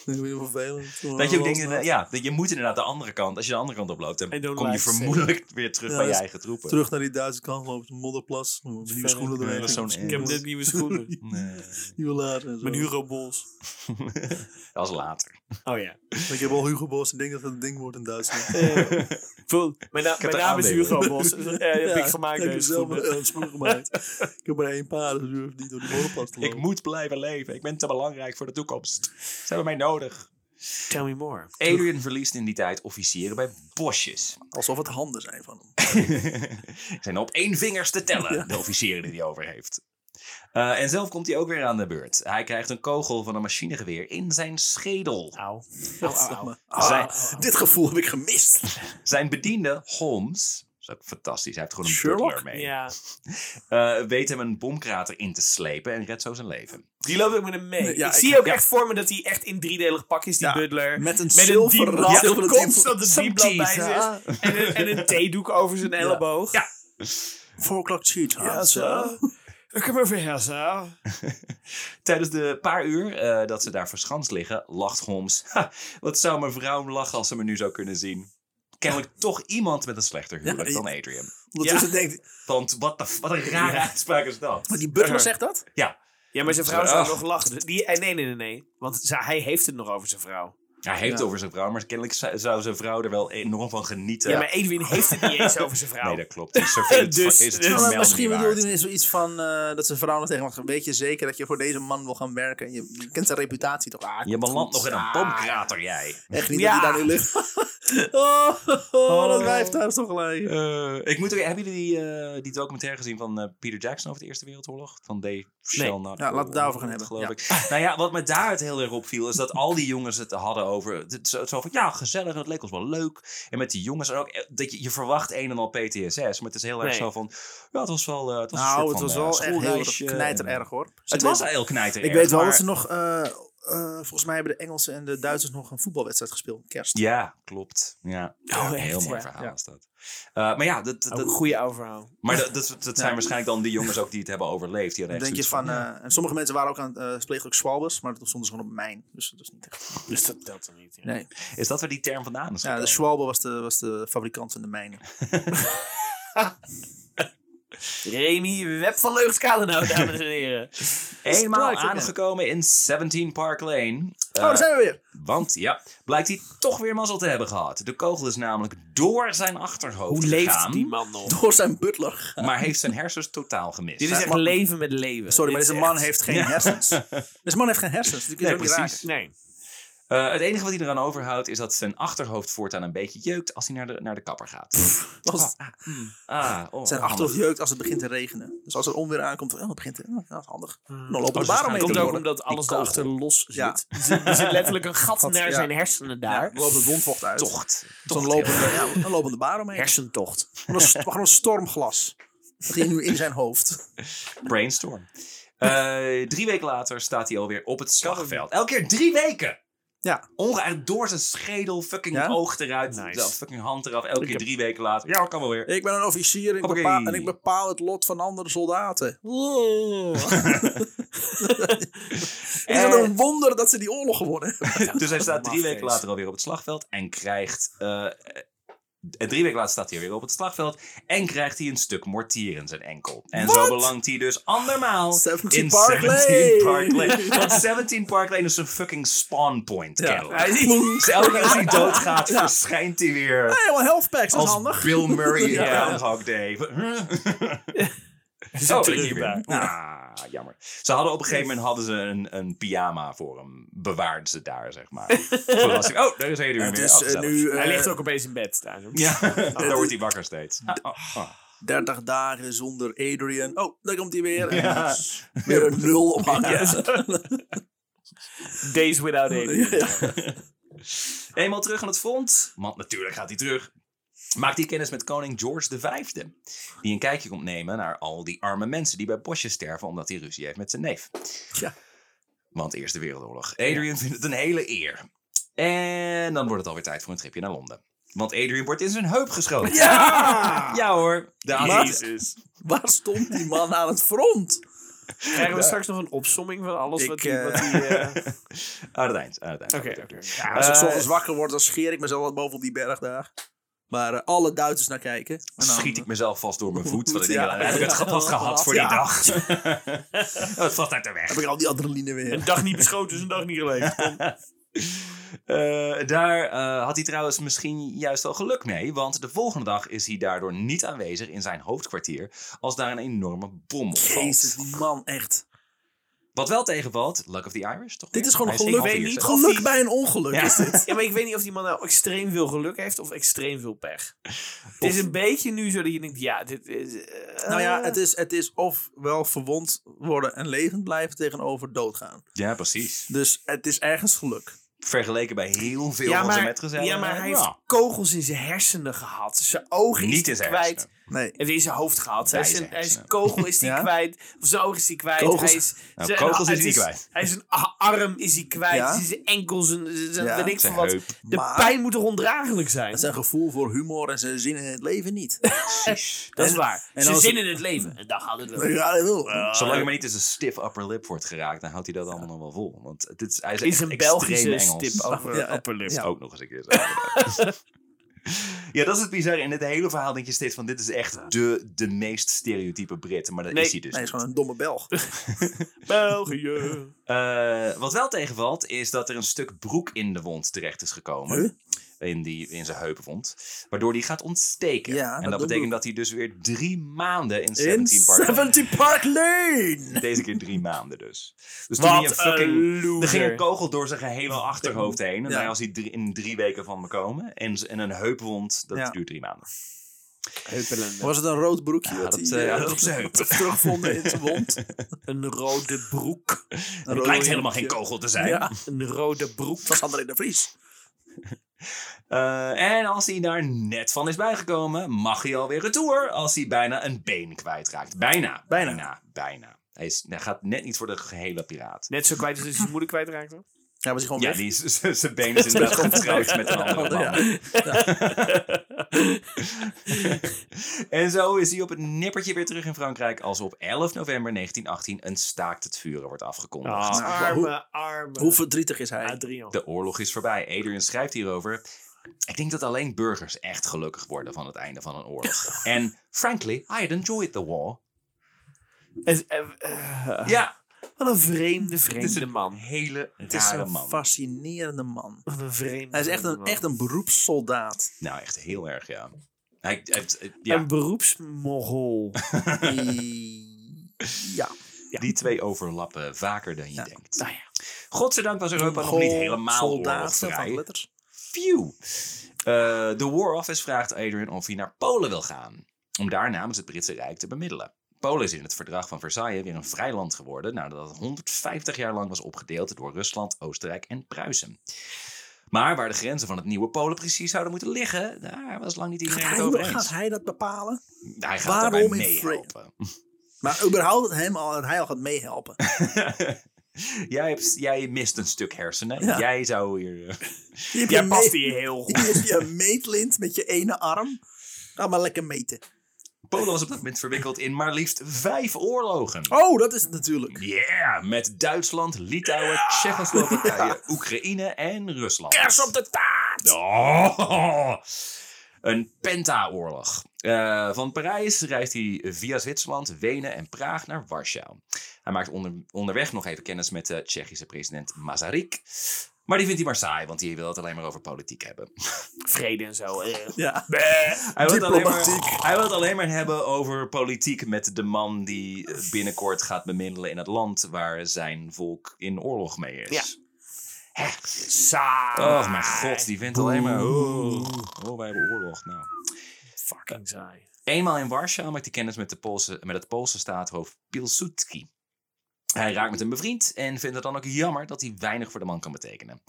Dat is weer vervelend.
Dat je ook dingen, ja, dat je moet inderdaad de andere kant, als je de andere kant op loopt, dan
I don't
kom je
like to say.
vermoedelijk weer terug
Ja,
bij je
dus
eigen troepen.
Terug naar die Duitse kant lopen, een modderplas. Nieuwe schoenen
Ja,
erin.
dat is zo'n
Ik heb
Engels.
net nieuwe schoenen.
Nee.
Nieuwe laarzen en zo.
Mijn Hugo Boss.
dat was later.
Oh ja.
Ik heb al Hugo Boss. Ik denk dat dat een ding wordt in Duitsland.
Eh, voel- mijn na- mijn
er
naam is
aandelen.
Hugo Boss. Eh, heb ik gemaakt
Ik heb
deze
zelf
schoenen.
een een schoen gemaakt. ik heb maar één paar, dus ik hoef niet door die modderplas te
Ik
lopen.
moet blijven leven. Ik ben te belangrijk voor de toekomst. Ze hebben mij nodig.
Tell me more.
Adrian verliest in die tijd officieren bij bosjes.
Alsof het handen zijn van hem.
zijn op één vingers te tellen, de officieren die hij over heeft. Eh, en zelf komt hij ook weer aan de beurt. Hij krijgt een kogel van een machinegeweer in zijn schedel.
Auw. Auw, auw, auw.
Ah,
Zij-
Dit gevoel heb ik gemist.
Zijn bediende, Holmes, is ook fantastisch. Hij heeft gewoon een
Sherlock?
butler mee.
Ja.
Eh, weet hem een bomkrater in te slepen en redt zo zijn leven.
Die loopt ook met hem mee.
Nee, ja,
ik
ik-
zie ook
ja.
echt voor me dat hij echt in driedelig pak is, die
Ja,
butler.
Met een
Met een
zilveren
diepblad.
zilveren
constant een
Some
diepblad bij
cheese,
zich.
huh?
En een, en een theedoek over zijn elleboog.
Ja.
Four o'clock cheat.
Ja, zo. Ik heb even hersen.
Tijdens de paar uur eh, dat ze daar verschanst liggen, lacht Holmes. Ha, wat zou mijn vrouw lachen als ze me nu zou kunnen zien? Kennelijk toch iemand met een slechter huwelijk
Ja,
dan Adrian.
Ondertussen denkt
Want wat, de- wat een rare
Ja.
uitspraak is dat.
Maar die butler zegt dat?
Ja,
Ja, maar zijn vrouw zou
Ach.
nog lachen. Dus Die, eh, nee, nee, nee, nee. Want ze- hij heeft het nog over zijn vrouw.
hij heeft het
Ja.
over zijn vrouw, maar kennelijk zou zou zijn vrouw er wel enorm van genieten.
Ja, maar Edwin heeft het niet eens over zijn vrouw.
Nee, dat klopt. Die surveillance
Dus-
is het
dus-
vermeld
maar
niet
misschien
waard.
bedoelt hij zoiets van eh, dat zijn vrouw nog tegen hem zegt, Weet je zeker dat je voor deze man wil gaan werken? Je, je kent zijn reputatie toch? Ah,
Je
komt
belandt
goed.
nog in een
Ah,
bomkrater, jij.
Echt niet
Ja.
dat hij daar nu ligt. oh, oh, oh, dat
Oh.
wijf daar is toch gelijk.
Eh, ik moet ook, hebben jullie die, eh, die documentaire gezien van eh, Peter Jackson over de Eerste Wereldoorlog? Van They Shall
Nee.
Not
Ja, Nou, laten we het daarover gaan
Go On,
hebben.
Geloof
Ja.
ik. nou ja, wat me daaruit heel erg opviel is dat al die jongens het hadden over... het Zo, zo van, ja, gezellig en het leek ons wel leuk. En met die jongens en ook... eh, Dat je, je verwacht een en al PTSS, maar het is heel erg
Nee.
zo van... Ja, het was wel... eh, het was een soort
Nou, het
van,
was
eh,
wel echt heel erg
schoolreisje
knijter
en-
erg hoor. Ze
Het was
weten-
wel heel knijter
Ik weet wel
maar-
dat ze nog... eh, eh, volgens mij hebben de Engelsen en de Duitsers nog een voetbalwedstrijd gespeeld. Kerst.
Ja, klopt. Ja.
Oh,
Een
echt,
heel mooi
ja.
verhaal
Ja. Oh,
is dat. Eh, maar ja, dat,
Ook
dat,
een goede overhaal.
maar dat, dat, dat zijn
Ja.
waarschijnlijk dan die jongens ook die het hebben overleefd. Die
Dan
hadden echt
denk je
zoiets
van...
ja.
eh, en sommige mensen waren ook aan het uh, ook Swalbers, maar dat stonden ze gewoon op mijn. Dus dat is niet echt...
Dus dat telt er niet.
Nee.
Is dat waar die term vandaan is?
Ja, de
gekomen?
Schwalbe was de, was de fabrikant van de mijnen.
Remy Web van Leugskalenhout, dames en heren.
Eenmaal
Sprite, oké.
aangekomen in 17 Park Lane. Eh,
oh, daar zijn we weer.
Want ja, blijkt hij toch weer mazzel te hebben gehad. De kogel is namelijk door zijn achterhoofd gegaan,
Hoe leeft die man nog?
Door zijn butler.
Maar heeft zijn hersens totaal gemist.
Dit is echt
maar-
leven met leven.
Sorry, maar
Dit
deze
is
man
echt-
heeft geen
Ja.
hersens. Deze man heeft geen hersens. dus Die kun je
Nee,
ook niet
precies.
raken.
Nee.
Eh, het enige wat hij eraan overhoudt is dat zijn achterhoofd voortaan een beetje jeukt als hij naar de, naar de kapper gaat.
Als-
Ah,
zijn
oh, handig.
achterhoofd jeukt als het begint te regenen. Dus als er onweer aankomt, oh, het begint te... oh, dat is handig. Dan lopen de
dus
baren mee
het
te
komt ook
worden.
omdat alles
kogel.
daarachter los zit.
Ja.
Er zit- Er zit letterlijk een gat
Gat,
naar
ja.
zijn hersenen
Ja,
daar.
dan loopt het wondvocht uit. Dus
Tocht.
Dan
Tocht,
lopen,
heel
de, ja, dan lopen de baren mee.
Hersentocht.
Gewoon een, st- gewoon een stormglas. Dat ging nu in zijn hoofd.
Brainstorm. Eh, drie weken later staat hij alweer op het slagveld. Elke keer drie weken!
Ja.
Ongeaard door zijn schedel, fucking
Ja?
oog eruit,
Nice.
de fucking hand eraf. Elke
Ik
keer
heb-
drie weken later. Ja, kan wel weer.
Ik ben een officier ik
Hoppakee.
bepaal, en ik bepaal het lot van andere soldaten. Is het een wonder dat ze die oorlog gewonnen hebben?
dus hij staat drie
Mag
weken
eens.
later alweer op het slagveld en krijgt... eh, en drie weken later staat hij weer op het slagveld en krijgt hij een stuk mortier in zijn enkel. En zo
Wat?
belandt hij dus andermaal
17
in
Park
17 Park
Lane.
Lane. Want 17 Park Lane is een fucking spawn point, kennelijk.
Hij is
Dus elke keer als hij doodgaat, verschijnt hij weer
helemaal health packs, dat is
als
handig.
Bill Murray in
Ja.
Groundhog Day.
is
Zo
een
ben je
terugbaar.
weer. Ah, jammer. Ze hadden op een gegeven moment hadden ze een, een pyjama voor hem. Bewaarden ze daar, zeg maar. Verrassing. Oh, daar is hij er weer.
Het is eh,
Oh,
nu
gezellig.
eh,
Hij ligt ook opeens in bed daar. zo.
Ja, daar wordt hij wakker steeds. Ah, ah, ah.
30 dagen zonder Adrian. Oh, daar komt hij weer.
Ja.
En Weer een nul ophangen.
Days without Adrian.
Eenmaal terug aan het front. Want natuurlijk gaat hij terug. Maakt hij kennis met koning George V. Die een kijkje komt nemen naar al die arme mensen die bij bosjes sterven omdat hij ruzie heeft met zijn neef.
Ja.
Want Eerste Wereldoorlog. Adrian vindt het een hele eer. En dan wordt het alweer tijd voor een tripje naar Londen. Want Adrian wordt in zijn heup geschoten.
Ja!
Ja hoor. De
Maar-
Aziz.
Jezus.
Waar stond die man aan het front?
Krijgen we straks nog een opsomming van alles
Ik,
wat hij...
eh,
wat hij, eh,
Aan het eind. Aan het eind.
Oké, oké.
Ja, als ik
Eh,
s ochtends wakker word, dan scheer ik mezelf wat boven op die berg daar. Waar eh, alle Duitsers naar kijken. En dan-
schiet ik mezelf vast door mijn voet. Want ik denk,
Ja.
ja, dan heb ik het gehad gehad voor die
Ja.
dag. Oh, Het valt uit de weg.
Heb ik al die adrenaline weer.
Een dag niet beschoten is een dag niet geleefd. Kom.
Eh, daar eh, had hij trouwens misschien juist wel geluk mee, want de volgende dag is hij daardoor niet aanwezig in zijn hoofdkwartier als daar een enorme bom op valt.
Jezus, die man, echt.
Wat wel tegenvalt, Luck of the Irish, toch?
Dit
weer?
is gewoon
Hij
geluk.
één van
ik weet
vier,
niet
zeg.
of
Geluk
die-
bij een ongeluk
Ja.
is dit.
Ja, maar ik weet niet of die man nou extreem veel geluk heeft of extreem veel pech. Het is een beetje nu zo dat je denkt, ja, dit is... eh,
Nou ja, het is, het is ofwel verwond worden en levend blijven tegenover doodgaan.
Ja, precies.
Dus het is ergens geluk.
Vergeleken bij heel veel
Ja
van zijn
maar,
metgezellen.
ja, maar hij
ja.
heeft kogels in zijn hersenen gehad. Zijn ogen
Niet in
is hij
zijn
kwijt.
hersenen.
Nee.
En in zijn hoofd gehad. Hij
Bij
is,
zijn
een, hij is
hersenen.
kogel is hij
Ja?
kwijt. Of zijn ogen is hij kwijt.
Kogels-
hij is,
Nou, kogels is hij kwijt.
Hij is een a- arm is hij kwijt.
Ja?
Hij is zijn enkel, zijn, zijn- zijn-
Ja,
weet ik
zijn
veel wat.
heup.
De
Maar-
pijn moet er ondraaglijk zijn.
Zijn gevoel voor humor en zijn zin in het leven niet.
Precies.
Dat is
en-
waar.
en
zijn
als-
zin in het leven. En daar gaat het wel.
Ja, eh, dat wil.
Eh,
Zolang hij maar niet eens een stiff upper lip wordt geraakt, dan houdt hij dat allemaal nog wel vol. Want het is, hij is,
Is
echt
een
extreem
Belgische
Engels.
stip over
Ja,
upperlip.
ja.
Ook nog eens een keer. zo. ja, dat is het bizarre. In het hele verhaal denk je steeds van dit is echt de, de meest stereotype Brit. Maar dat
Nee.
is hij dus
Nee, hij
niet.
is gewoon een domme Belg.
België.
Eh, wat wel tegenvalt is dat er een stuk broek in de wond terecht is gekomen. In, die, in zijn heupenwond. Waardoor die gaat ontsteken.
Ja,
en
dat
dat,
doet
betekent dat hij dus weer drie maanden in
In
17 Park...
17 Park Lane!
Deze keer drie maanden dus. Dus toen hij een
Wat
fucking...
een loser.
Er ging een kogel door zijn gehele achterhoofd heen. En
Ja.
daar was hij drie- in drie weken van me komen. En, z- en een heupwond, dat
Ja.
duurt drie maanden.
Was het een rood broekje?
Ja,
wat
dat,
hij,
eh,
eh,
ja, dat op zijn heup.
Terugvonden in zijn wond.
Een rode broek.
Een
Het
rood
lijkt helemaal geen
broekje.
kogel te zijn.
Ja,
Een rode broek.
dat was André de Vries.
Eh, en als hij daar net van is bijgekomen, mag hij alweer retour als hij bijna een been kwijtraakt. Bijna.
Bijna.
Bijna. bijna. Hij, is, hij gaat net niet voor de gehele piraat.
Net zo kwijt als hij zijn moeder kwijtraakte.
Ja, was hij gewoon
Ja,
weg.
die is- z- zijn been is inderdaad getrouwd met een andere man.
Ja.
En zo is hij op het nippertje weer terug in Frankrijk als op 11 november 1918 een staakt het vuren wordt afgekondigd.
Ah,
Nou,
arme, arme.
Hoe verdrietig is hij?
Adrian.
De oorlog is voorbij. Adrian schrijft hierover. Ik denk dat alleen burgers echt gelukkig worden van het einde van een oorlog. En frankly, I had enjoyed the war.
En- en- eh,
Ja,
Wat een vreemde,
het is
vreemde
een
man.
hele
Het is
rare
een
man.
fascinerende man.
Wat een vreemde,
Hij is echt
vreemde
een,
man.
echt een beroepssoldaat.
Nou, echt heel erg, ja. Hij, het- het- ja
Een beroepsmogol.
Die- Ehm, ja.
die twee overlappen vaker dan je denkt.
nou ja.
Godzijdank was Europa nog niet helemaal
soldaat van
oorlogsvrij.
letters.
Phew. Eh, De War Office vraagt Adrian of hij naar Polen wil gaan. Om daar namens het Britse Rijk te bemiddelen. Polen is in het verdrag van Versailles weer een vrij land geworden nadat het 150 jaar lang was opgedeeld door Rusland, Oostenrijk en Pruisen. Maar waar de grenzen van het nieuwe Polen precies zouden moeten liggen, daar was lang niet
Gaat
iedereen het over
hij,
eens.
gaat hij dat bepalen?
Hij gaat
Waarom
daarbij
in Fre-
meehelpen.
Maar überhaupt dat hem al, dat hij al gaat meehelpen.
jij, hebt, jij mist een stuk hersenen.
Ja.
Jij zou hier... eh,
Je
Jij past hier heel goed.
Je hebt je meetlint met je ene arm. Ga maar lekker meten.
Polen was op dat moment verwikkeld in maar liefst vijf oorlogen.
Oh, dat is het natuurlijk.
Yeah, met Duitsland, Litouwen, Tsjechoslowakije, Oekraïne en Rusland.
Kers op de taart!
Oh. Een pentaoorlog. Eh, van Parijs reist hij via Zwitserland, Wenen en Praag naar Warschau. Hij maakt onder, onderweg nog even kennis met de Tsjechische president Masaryk. Maar die vindt hij maar saai, want hij wil het alleen maar over politiek hebben.
Vrede en zo. eh.
Ja.
Hij wil, het alleen maar,
Diplomatiek.
hij wil het alleen maar hebben over politiek met de man die binnenkort gaat bemiddelen in het land waar zijn volk in oorlog mee is. Hè?
Saai.
Oh mijn god, die vindt alleen maar... Oh, oh, wij hebben oorlog. Nou.
Fucking saai.
Eenmaal in Warschau maakt hij kennis met, de Poolse, met het Poolse staatshoofd Pilsudski. Hij raakt met hem bevriend en vindt het dan ook jammer dat hij weinig voor de man kan betekenen.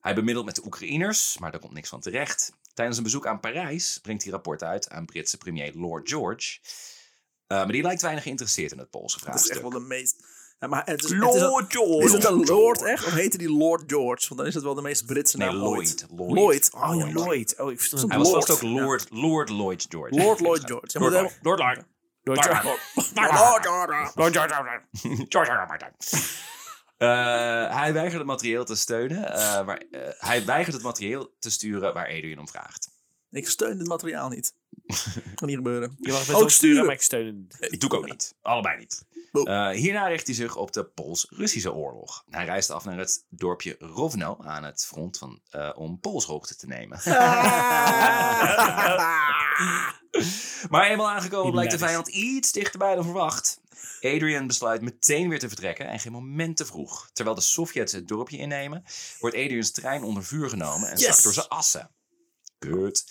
Hij bemiddelt met de Oekraïners, maar daar komt niks van terecht. Tijdens een bezoek aan Parijs brengt hij rapport uit aan Britse premier Lord George. Eh, maar die lijkt weinig geïnteresseerd in het Poolse
Dat is echt
vraagstuk.
wel de meest... Ja, maar het is, het is, een-
Lord George.
is het een Lord echt? Of heette die Lord George? Want dan is het wel de meest Britse
Nee,
naam
Lloyd.
ooit.
Lloyd.
Lloyd.
Oh,
Oh, ja, Lloyd.
Lloyd. Oh, ik verstond
Hij
Hij was
Lord.
vast ook Lord, Lord Lloyd George.
Lord Lloyd George. Ja, maar dan-
Lord Lloyd. Lord Lloyd.
Lord
Lord
George.
Lloyd.
Lord George.
Lord George.
George R. R. Martin. Eh, hij weigert het materieel te steunen. eh, maar, eh, hij weigert het materieel te sturen waar Adrian om vraagt.
Ik steun dit materiaal niet. Kan niet gebeuren.
Je mag het
Ook
ook sturen,
sturen.
maar ik steun het niet.
Dat doe ik ook niet. Allebei niet.
Oh.
Eh, hierna richt hij zich op de Pools-Russische oorlog. Hij reist af naar het dorpje Rovno aan het front van, eh, om Pools hoogte te nemen.
Ah.
Maar eenmaal aangekomen blijkt de
Hilarisch.
vijand iets dichterbij dan verwacht. Adrian besluit meteen weer te vertrekken en geen moment te vroeg. Terwijl de Sovjets het dorpje innemen, wordt Adrians trein onder vuur genomen en
Yes.
zakt door zijn assen. Kut.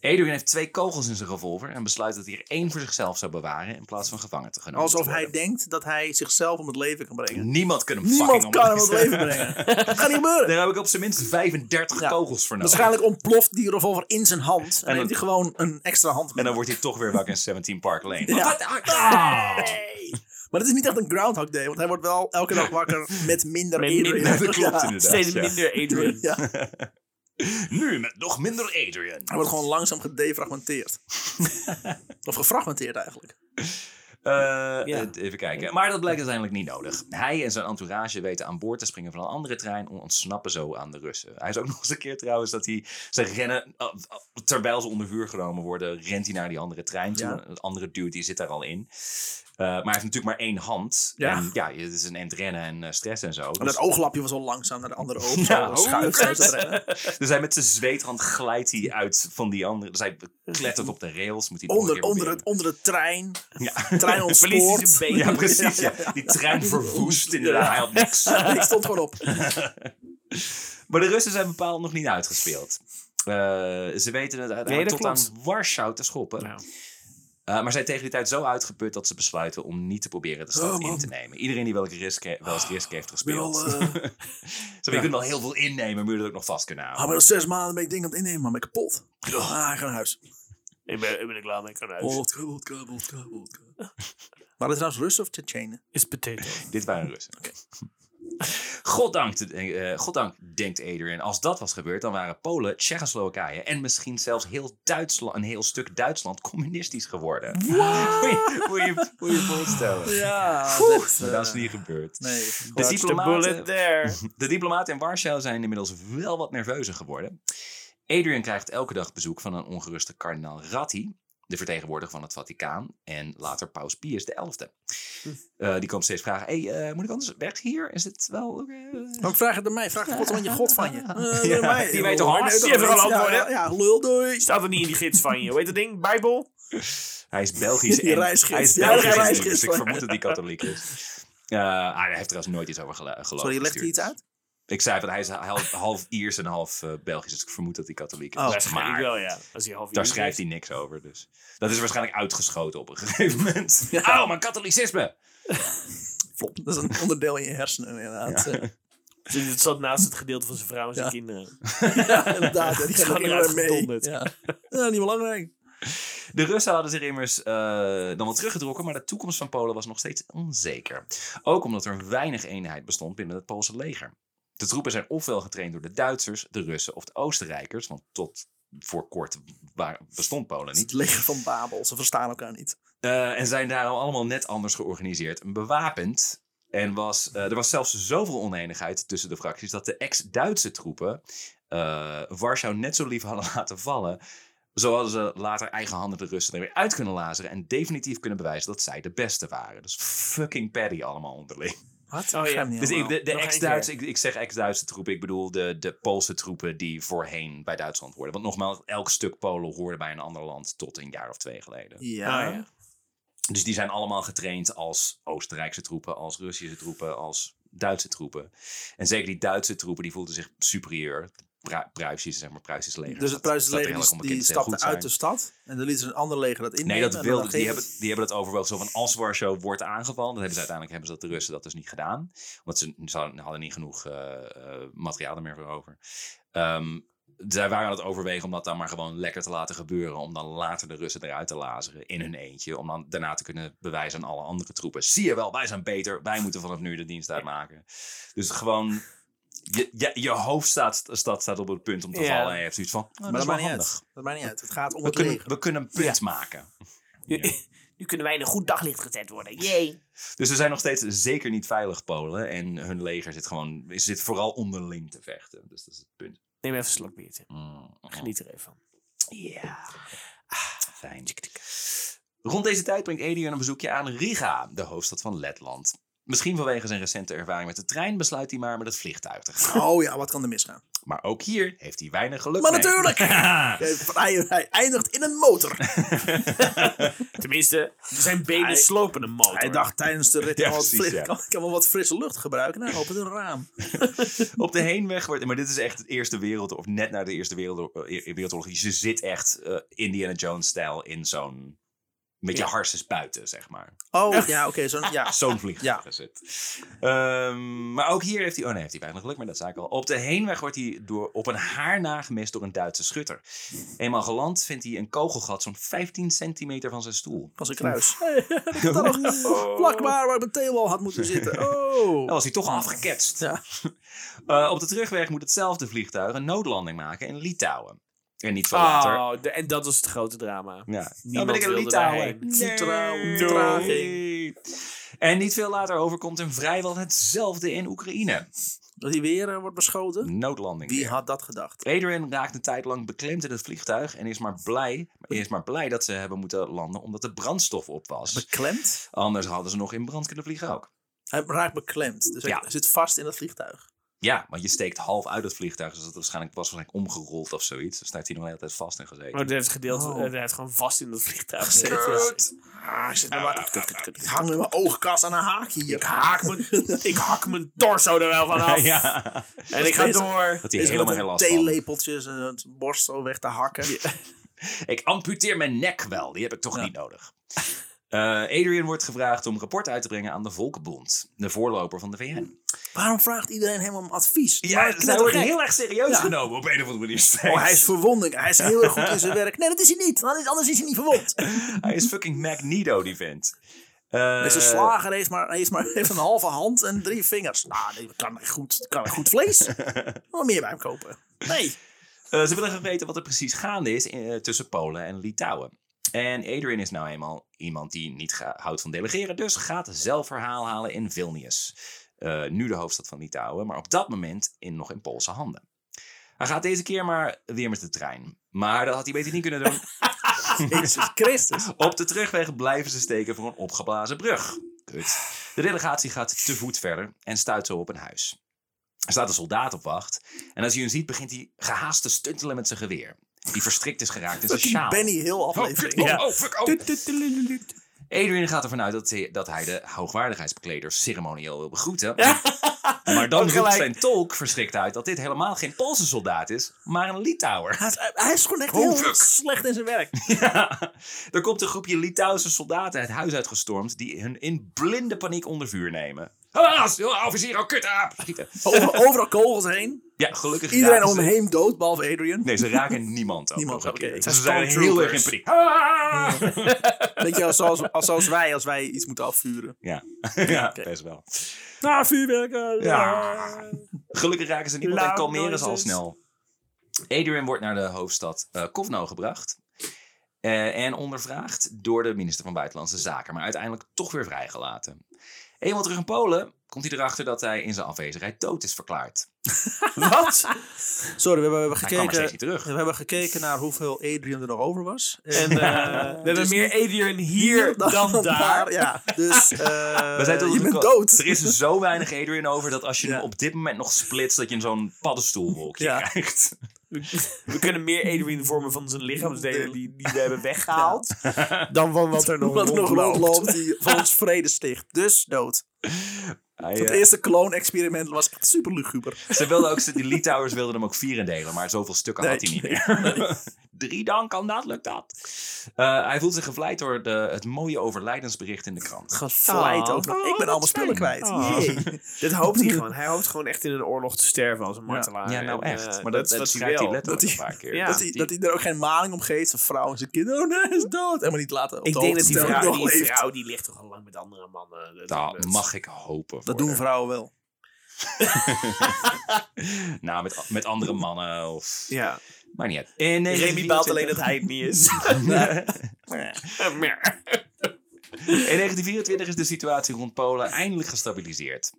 Adrian heeft twee kogels in zijn revolver en besluit dat hij er één voor zichzelf zou bewaren in plaats van gevangen te genomen
Alsof
te
hij
worden.
denkt dat hij zichzelf om het leven kan brengen.
Niemand kan hem
Niemand
fucking
kan hem om het
ombrengen.
leven brengen. Dat gaat niet gebeuren.
Daar heb ik op zijn minst 35
Ja.
kogels voor nodig.
Waarschijnlijk ontploft die revolver in zijn hand. En,
dan-
heeft hij gewoon een extra hand
En
mee.
dan wordt hij toch weer wakker in 17 Park Lane.
Ja.
Wat? Ah!
Nee. Maar het is niet echt een Groundhog Day, want hij wordt wel elke dag wakker met minder
Met
Adrian.
minder,
dat klopt
Ja.
inderdaad.
Steeds
ja.
minder Adrian.
Ja.
Nu met nog minder Adrian.
Hij wordt gewoon langzaam gedefragmenteerd. of gefragmenteerd eigenlijk.
Eh,
Ja.
het- Even kijken. Maar dat blijkt uiteindelijk niet nodig. Hij en zijn entourage weten aan boord te springen van een andere trein. om ontsnappen zo aan de Russen. Hij is ook nog eens een keer trouwens dat hij. ze rennen. oh, oh, terwijl ze onder vuur genomen worden. rent hij naar die andere trein. toe.
Ja.
Een andere dude die zit daar al in. Eh, maar hij heeft natuurlijk maar één hand.
Ja.
En ja, het is een entrennen en eh, stress en zo.
En
Dus-
dat ooglapje was al langzaam naar de andere oog.
Ja, oh,
zo schuif, zo te rennen.
Dus hij met zijn zweethand glijdt hij uit van die andere. Dus hij klettert op de rails. Moet hij nog een
onder,
keer
onder, het, onder de trein.
proberen. Ja.
Trein
Verliest hij
ontspoort.
zijn been.
Ja, precies. Ja. Die trein verwoest inderdaad. Hij had niks.
Ik stond gewoon op.
Maar de Russen zijn bepaald nog niet uitgespeeld. Eh, ze weten het
Nee,
uiteindelijk
dat
tot
klopt.
aan Warschau te schoppen.
Nou.
Eh, maar zijn tegen die tijd zo uitgeput dat ze besluiten om niet te proberen de stad
Oh, man.
in te nemen. Iedereen die wel, een risk, he- wel eens risk heeft gespeeld.
Wel, eh,
Zo, je kunt wel heel veel innemen, maar je moet het ook nog vast kunnen
Ah,
houden.
maar dat is zes maanden ben ik dingen aan het innemen, maar ben ik kapot. Ah, ik ga naar huis.
Ik ben, ik ben er klaar mee, ik kan naar huis.
Wodka, wodka, wodka, wodka. Waren het trouwens Russen of Tsjetsjenen?
Is potato.
Ah.
Dit waren Russen. Goddank, te- eh, goddank, denkt Adrian, als dat was gebeurd, dan waren Polen, Tsjechoslowakije en misschien zelfs heel Duitsland, een heel stuk Duitsland communistisch geworden. Moet je moet je, moet je voorstellen.
Ja, eh,
Oeh, maar dat is niet gebeurd.
Nee.
De
Dodge the
diplomaten,
bullet there.
de diplomaten in Warschau zijn inmiddels wel wat nerveuzer geworden. Adrian krijgt elke dag bezoek van een ongeruste kardinaal Ratti, de vertegenwoordiger van het Vaticaan en later paus Pius XI.
Hm.
Eh die komt steeds vragen, hey, eh, moet ik anders weg hier? Is het wel... eh,
Dan vraag het aan mij. Vraag God van je God van je. Eh,
Ja,
mij.
die weet toch alles?
Nee, dat
Die heeft toch
weet-
alle
ja,
antwoorden?
Ja, ja, lul, doei.
Staat er niet in die gids van je. Weet dat ding? Bijbel?
Hij is Belgisch.
Die
en-
reisgids.
Hij is
Ja,
Belgisch,
die reisgids
dus ik
van-
vermoed dat hij katholiek is. Eh, ah, hij heeft trouwens nooit iets over gelo- geloof
Sorry, legt hij
gestuurd.
iets uit?
Ik zei van hij is half, half Iers en half eh, Belgisch, dus ik vermoed dat hij katholiek is.
Oh.
Waarschijnlijk wel, ja. Als hij half
Daar
uur
schrijft
is.
hij niks over, dus. Dat is waarschijnlijk uitgeschoten op een gegeven moment. Oh, mijn katholicisme!
Flop. Dat is een onderdeel in je hersenen, inderdaad. Ja,
Dus het zat naast het gedeelte van zijn vrouw en zijn
Ja.
kinderen.
inderdaad. Ja, die gaan
Gewoon
er heel erg mee.
uitgedonderd.
Ja. Ja, niet belangrijk.
De Russen hadden zich immers eh, dan wel teruggetrokken, maar de toekomst van Polen was nog steeds onzeker. Ook omdat er weinig eenheid bestond binnen het Poolse leger. De troepen zijn ofwel getraind door de Duitsers, de Russen of de Oostenrijkers, want tot voor kort wa- bestond Polen niet.
Het leger van Babel. Ze verstaan elkaar niet.
Eh, en zijn daarom allemaal net anders georganiseerd en bewapend. En was, eh, er was zelfs zoveel oneenigheid tussen de fracties dat de ex-Duitse troepen eh, Warschau net zo lief hadden laten vallen. Zo hadden ze later eigenhandig de Russen er weer uit kunnen lazeren en definitief kunnen bewijzen dat zij de beste waren. Dus fucking paddy allemaal onderling.
Wat?
Oh, ja.
Dus ik, de, de
nog één
ex-Duitse, ik, ik zeg ex-Duitse troepen, ik bedoel de, de Poolse troepen die voorheen bij Duitsland hoorden. Want nogmaals, elk stuk Polen hoorde bij een ander land tot een jaar of twee geleden.
Ja.
Ah, ja.
Dus die zijn allemaal getraind als Oostenrijkse troepen, als Russische troepen, als Duitse troepen. En zeker die Duitse troepen, die voelden zich superieur. Pru- Pruisische, zeg maar, Pruisische leger.
Dus het
Dat-
Pruisische
dat
leger
eigenlijk om
die,
een
die
kind te zeggen,
stapte uit
goed
de
zijn.
stad. En dan liet ze een ander leger dat innemen.
Nee, dat
en dan
wilden die
geven-
hebben, die hebben dat overwogen. Zo van, als Warschau wordt aangevallen, dan hebben ze uiteindelijk hebben ze dat de Russen dat dus niet gedaan. Want ze, ze hadden- hadden niet genoeg eh, eh, materiaal er meer voor over. Ehm, zij waren aan het overwegen om dat dan maar gewoon lekker te laten gebeuren. Om dan later de Russen eruit te lazeren in hun eentje. Om dan daarna te kunnen bewijzen aan alle andere troepen. Zie je wel, wij zijn beter. Wij moeten vanaf nu de dienst uitmaken. Dus gewoon, je, je, je hoofdstad staat, staat op het punt om te
Ja.
vallen. En je hebt zoiets van, oh,
Maar
dat,
Nou, dat
is wel
maakt niet
handig.
uit. Dat maakt niet uit. Het gaat om
We
het
kunnen,
leger.
we kunnen een punt maken.
Nu kunnen wij in een goed daglicht gezet worden. Jee.
Dus ze zijn nog steeds zeker niet veilig, Polen. En hun leger zit gewoon, zit vooral onderling te vechten. Dus dat is het punt.
Neem even een slok biertje.
Mm.
Geniet er even van.
Ja. Ah, Fijn. Rond deze tijd brengt Adrian een bezoekje aan Riga, de hoofdstad van Letland. Misschien vanwege zijn recente ervaring met de trein besluit hij maar met het vliegtuig te gaan.
Oh ja, wat kan er misgaan?
Maar ook hier heeft hij weinig geluk
Maar
mee.
natuurlijk! Hij, hij eindigt in een motor.
Tenminste, zijn benen
Hij-
slopen een motor.
Hij dacht tijdens de rit,
Ja,
oh, het
precies,
vliegt-
ja.
ik kan wel wat frisse lucht gebruiken. Nou, opent een raam.
Op de heenweg wordt... Maar dit is echt het Eerste Wereldoorlog, of net na de Eerste Wereldoorlog. eh, wereldoorlog. Ze zit echt eh, Indiana Jones-stijl in zo'n... Met je
Ja.
harses buiten, zeg maar.
Oh, ja, oké. zo'n ja.
Zo'n vliegtuig
Ja.
is het. Ehm, maar ook hier heeft hij... Oh nee, heeft hij weinig geluk, maar dat zei ik al. Op de heenweg wordt hij door, op een haar na gemist door een Duitse schutter. Eenmaal geland vindt hij een kogelgat zo'n 15 centimeter van zijn stoel. Oh.
Als een kruis. Hey, heb ik dat nog vlak waar, waar mijn teelwal had moeten zitten.
Dan
Oh.
was hij toch al afgeketst.
Ja.
Eh, op de terugweg moet hetzelfde vliegtuig een noodlanding maken in Litouwen. En niet veel
Ah,
later...
Oh, de- en dat was het grote drama.
Ja.
Niemand wilde daarheen.
Nee.
Vertrouw-
Nee.
vertraging.
En niet veel later overkomt hem vrijwel hetzelfde in Oekraïne.
Dat hij weer eh, wordt beschoten.
Noodlanding.
Wie had dat gedacht?
Adrian raakt een tijd lang beklemd in het vliegtuig en is maar blij, is maar blij dat ze hebben moeten landen omdat de brandstof op was.
Beklemd?
Anders hadden ze nog in brand kunnen vliegen ook.
Hij raakt beklemd. Dus hij
Ja.
zit vast in dat vliegtuig.
Ja, want je steekt half uit het vliegtuig, dus dat waarschijnlijk was waarschijnlijk omgerold of zoiets. Dan staat hij nog de hele tijd vast en gezeten.
Maar dat heeft gedeeld,
Oh.
eh, dat heeft gewoon vast in dat vliegtuig gezeten.
Kut. Ah, ik, zit met mijn- ik hang met mijn oogkast aan een haakje hier.
Ik haak mijn, ik hak mijn torso er wel van af.
ja,
En ik ga
steeds-
door.
dat hij
Is met
helemaal geen
een
last van.
theelepeltjes en het borst zo weg te hakken.
Ik amputeer mijn nek wel, die heb ik toch
Ja.
niet nodig. Eh, Adrian wordt gevraagd om rapport uit te brengen aan de Volkenbond, de voorloper van de VN.
Waarom vraagt iedereen hem om advies? Maar
ze worden
knettergek.
erg serieus
Ja.
genomen op een of andere manier.
Oh, hij is verwonding. Hij is heel erg goed in zijn werk. Nee, dat is hij niet. Anders anders is hij niet verwond.
Hij is fucking Magneto, die vent. Eh,
Deze slager heeft maar, heeft maar heeft een halve hand en drie vingers. Nou, nee, dat kan goed, dat kan goed vlees. Wil meer bij hem kopen. Nee.
eh, ze willen graag weten wat er precies gaande is eh, tussen Polen en Litouwen. En Adrian is nou eenmaal iemand die niet ga- houdt van delegeren, dus gaat zelf verhaal halen in Vilnius. Eh, nu de hoofdstad van Litouwen, maar op dat moment in, nog in Poolse handen. Hij gaat deze keer maar weer met de trein. Maar dat had hij beter niet kunnen doen.
Jezus Christus.
Op de terugweg blijven ze steken voor een opgeblazen brug. Kut. De delegatie gaat te voet verder en stuit zo op een huis. Er staat een soldaat op wacht. En als je hem ziet, begint hij gehaast te stuntelen met zijn geweer. Die verstrikt is geraakt in zijn sjaal.
Benny heel
Oh, fuck,
aflevering.
oh,
Ja.
oh, fuck, oh. Adrian gaat ervan uit dat hij, dat hij de hoogwaardigheidsbekleders ceremonieel wil begroeten. Maar dan
Ook
roept
gelijk.
zijn tolk verschrikt uit dat dit helemaal geen Poolse soldaat is, maar een Litouwer.
Hij, is- hij is gewoon echt
Oh,
heel
fuck.
slecht in zijn werk.
Ja. Er komt een groepje Litouwse soldaten het huis uitgestormd die hun in blinde paniek onder vuur nemen. Helaas, oh, officier, oh, kut, aap, schieten.
Over, overal kogels heen.
Ja, gelukkig
Iedereen
raken
om
ze-
hem heen dood, behalve Adrian.
Nee, ze raken niemand ook.
Niemand,
nog een
oké.
keer.
Het
Ze
zijn
zijn heel erg in
stormtroopers.
paniek. Ah!
Weet je, als- zoals, als, zoals wij, als wij iets moeten afvuren.
Ja, ja
Oké.
best wel.
Na vuurwerken.
Ja. Gelukkig raken ze niemand en
Loud
kalmeren ze al
noises.
snel. Adrian wordt naar de hoofdstad eh Kovno gebracht. eh, en ondervraagd door de minister van Buitenlandse Zaken. Maar uiteindelijk toch weer vrijgelaten. Eenmaal terug in Polen komt hij erachter dat hij in zijn afwezigheid dood is verklaard.
Wat?
Sorry, we hebben, we hebben
Hij kwam maar
gekeken...
steeds niet terug.
We hebben gekeken naar hoeveel Adrian er nog over was.
En eh, we hebben
Dus
meer Adrian hier dan daar.
Ja, dus eh,
We zijn tot
je
op de
bent
ko-
dood.
Er is zo weinig Adrian over dat als je
Ja.
hem op dit moment nog splitst... dat je in zo'n paddenstoelwolkje
Ja.
krijgt.
We kunnen meer Adrian vormen van zijn lichaamsdelen die, die we hebben weggehaald. Dan van wat er nog
Wat er nog
rondloopt.
rondloopt die van ons vrede sticht. Dus dood.
Hij,
Het
eh,
eerste kloon-experiment was echt super luguber.
Ze wilden ook, die Litouwers wilden hem ook vieren delen, maar zoveel stukken had hij niet meer. Drie dan, kan dat, lukt dat. Eh, hij voelt zich gevleid door de, het mooie overlijdensbericht in de krant.
Gevleid
Oh.
ook nog. Ik ben
Oh,
allemaal
wat
spullen
fijn.
kwijt.
Oh.
Jee.
Dit hoopt hij gewoon. Hij hoopt gewoon echt in een oorlog te sterven als een
Ja.
martelaar.
ja, nou
En,
echt.
eh,
maar dat, dat,
is wat
schrijft hij
wil.
letterlijk
Dat
een paar keer.
Ja.
dat, hij, dat hij er ook geen maling om geeft. Zijn vrouw en zijn kinderen. Oh nee, hij is dood. Helemaal niet laten. op de
Ik denk dat
hoogte
die
stellen
vrouw,
nog
die
leeft.
vrouw die ligt toch al lang met andere mannen. Dat-
Nou,
dat-
mag ik hopen. voor
Dat doen
haar.
vrouwen wel.
Nou, met, met andere mannen of...
Ja.
Maar niet uit. In 1924
Remy baalt alleen dat hij het niet
eh,
is.
In 1924 is de situatie rond Polen eindelijk gestabiliseerd.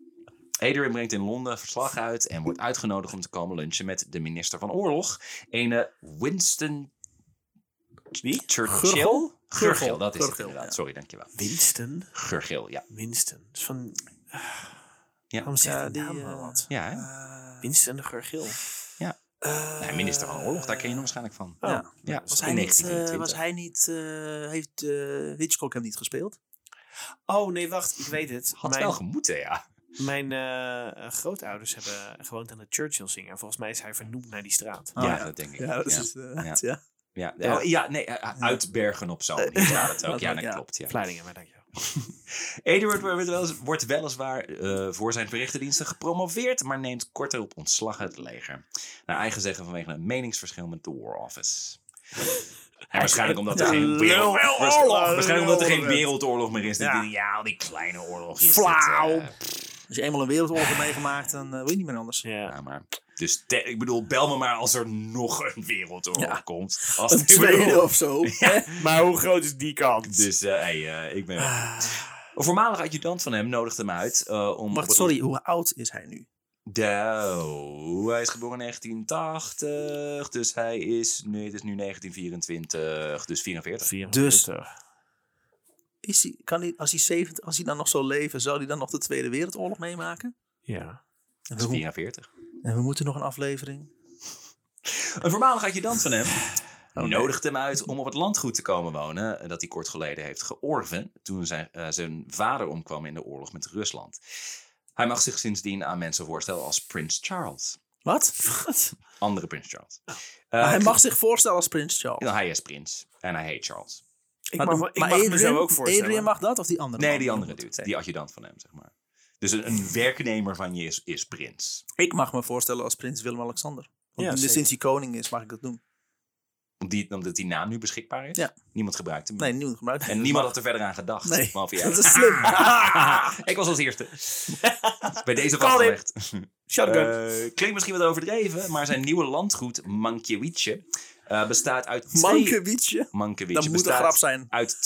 Adrian brengt in Londen verslag uit en wordt uitgenodigd om te komen lunchen met de minister van Oorlog, ene Winston
Wie?
Churchill.
Gurgel?
Gurgel, dat is het
Gurgel,
inderdaad.
ja.
Sorry, dankjewel.
Winston?
Gurgel, ja.
Winston. Dat is van Waarom zegt
Ja,
die,
die,
naam wel
eh,
wat?
Ja, hè?
Eh,
Winston Gurgil.
Ja.
Eh,
Nee, minister van Oorlog, daar ken je hem waarschijnlijk van.
Oh.
Ja.
Ja,
Was
in
hij niet, eh,
1923.
was hij niet eh, heeft eh, Hitchcock hem niet gespeeld?
Oh nee, wacht, ik weet het.
Had
mijn
wel gemoeten, ja.
mijn eh, eh, grootouders hebben gewoond aan de Churchill Singer. Volgens mij is hij vernoemd naar die straat.
Oh,
ja,
ja.
dat denk ik.
Ja, dat
ja.
is eh,
Ja.
het, ja.
Ja,
Ja.
ja. nee, eh, uit Bergen op Zoom. Hier staat het ook.
Dat
Ja,
ook,
dat
ja.
klopt. Ja.
Vlaardingen, maar dankjewel.
Eduard wordt, wel eens- wordt weliswaar eh, voor zijn verrichtendiensten gepromoveerd, maar neemt kort daarop ontslag uit het leger. Naar eigen zeggen vanwege een meningsverschil met de War Office. En waarschijnlijk omdat er
Ja.
geen wereld-
Lul,
waarsch-
oorlog.
waarschijnlijk omdat er geen
Lul, lul.
wereldoorlog meer is. Die
Ja.
denken, Ja, al die kleine oorlogjes. dat,
Flauw.
eh,
Als je eenmaal een wereldoorlog hebt meegemaakt, dan eh, wil je niet meer anders.
Ja.
ja, maar. Dus te- ik bedoel, bel me maar als er nog een wereldoorlog
Ja.
komt. Als
Een
ik bedoel-
tweede of zo.
Maar hoe groot is die kant?
Dus eh, hey, eh, ik ben. Een voormalig adjudant van hem nodigde hem uit eh, om.
Wacht, sorry, hoe oud is hij nu?
De, hij is geboren in 1980, dus hij is. Nee, het is nu 1924, dus 44.
Dus- Is hij, kan hij, als, hij 70, als hij dan nog zou leven, zou hij dan nog de Tweede Wereldoorlog meemaken?
Ja.
En
Dat is
we,
44.
en we moeten nog een aflevering.
Een voormalig adjudant van hem
Oh, nee.
nodigde hem uit om op het landgoed te komen wonen. eh, dat hij kort geleden heeft georven. toen zijn, eh, zijn vader omkwam in de oorlog met Rusland. Hij mag zich sindsdien aan mensen voorstellen als Prins Charles.
Wat?
Andere Prins Charles.
Maar
Eh,
hij mag zich voorstellen als Prins Charles.
Nou, hij is prins. En hij heet Charles.
Ik mag,
de-
ik mag me zo
Adrian-
ook voorstellen.
Adrian mag dat of die andere?
Nee,
man?
die andere dude. Die adjudant van hem, zeg maar. Dus een, een werknemer van je is, is prins.
Ik mag me voorstellen als Prins Willem-Alexander. Want
Ja,
nu-
zeker.
sinds hij koning is, mag ik dat doen.
Die, omdat die naam nu beschikbaar is.
Ja.
Niemand gebruikt hem.
Nee, niemand gebruikt
En niemand had er verder aan gedacht.
Nee,
behalve jij.
dat is slim.
Ik was als eerste. Bij deze
Call him.
vastgelegd.
Shotgun.
Eh, klinkt misschien wat overdreven, maar zijn nieuwe landgoed, Mankiewicz, eh, bestaat uit... twee-
Mankewietje.
Mankiewicz
Dat moet een
bestaat
grap zijn.
uit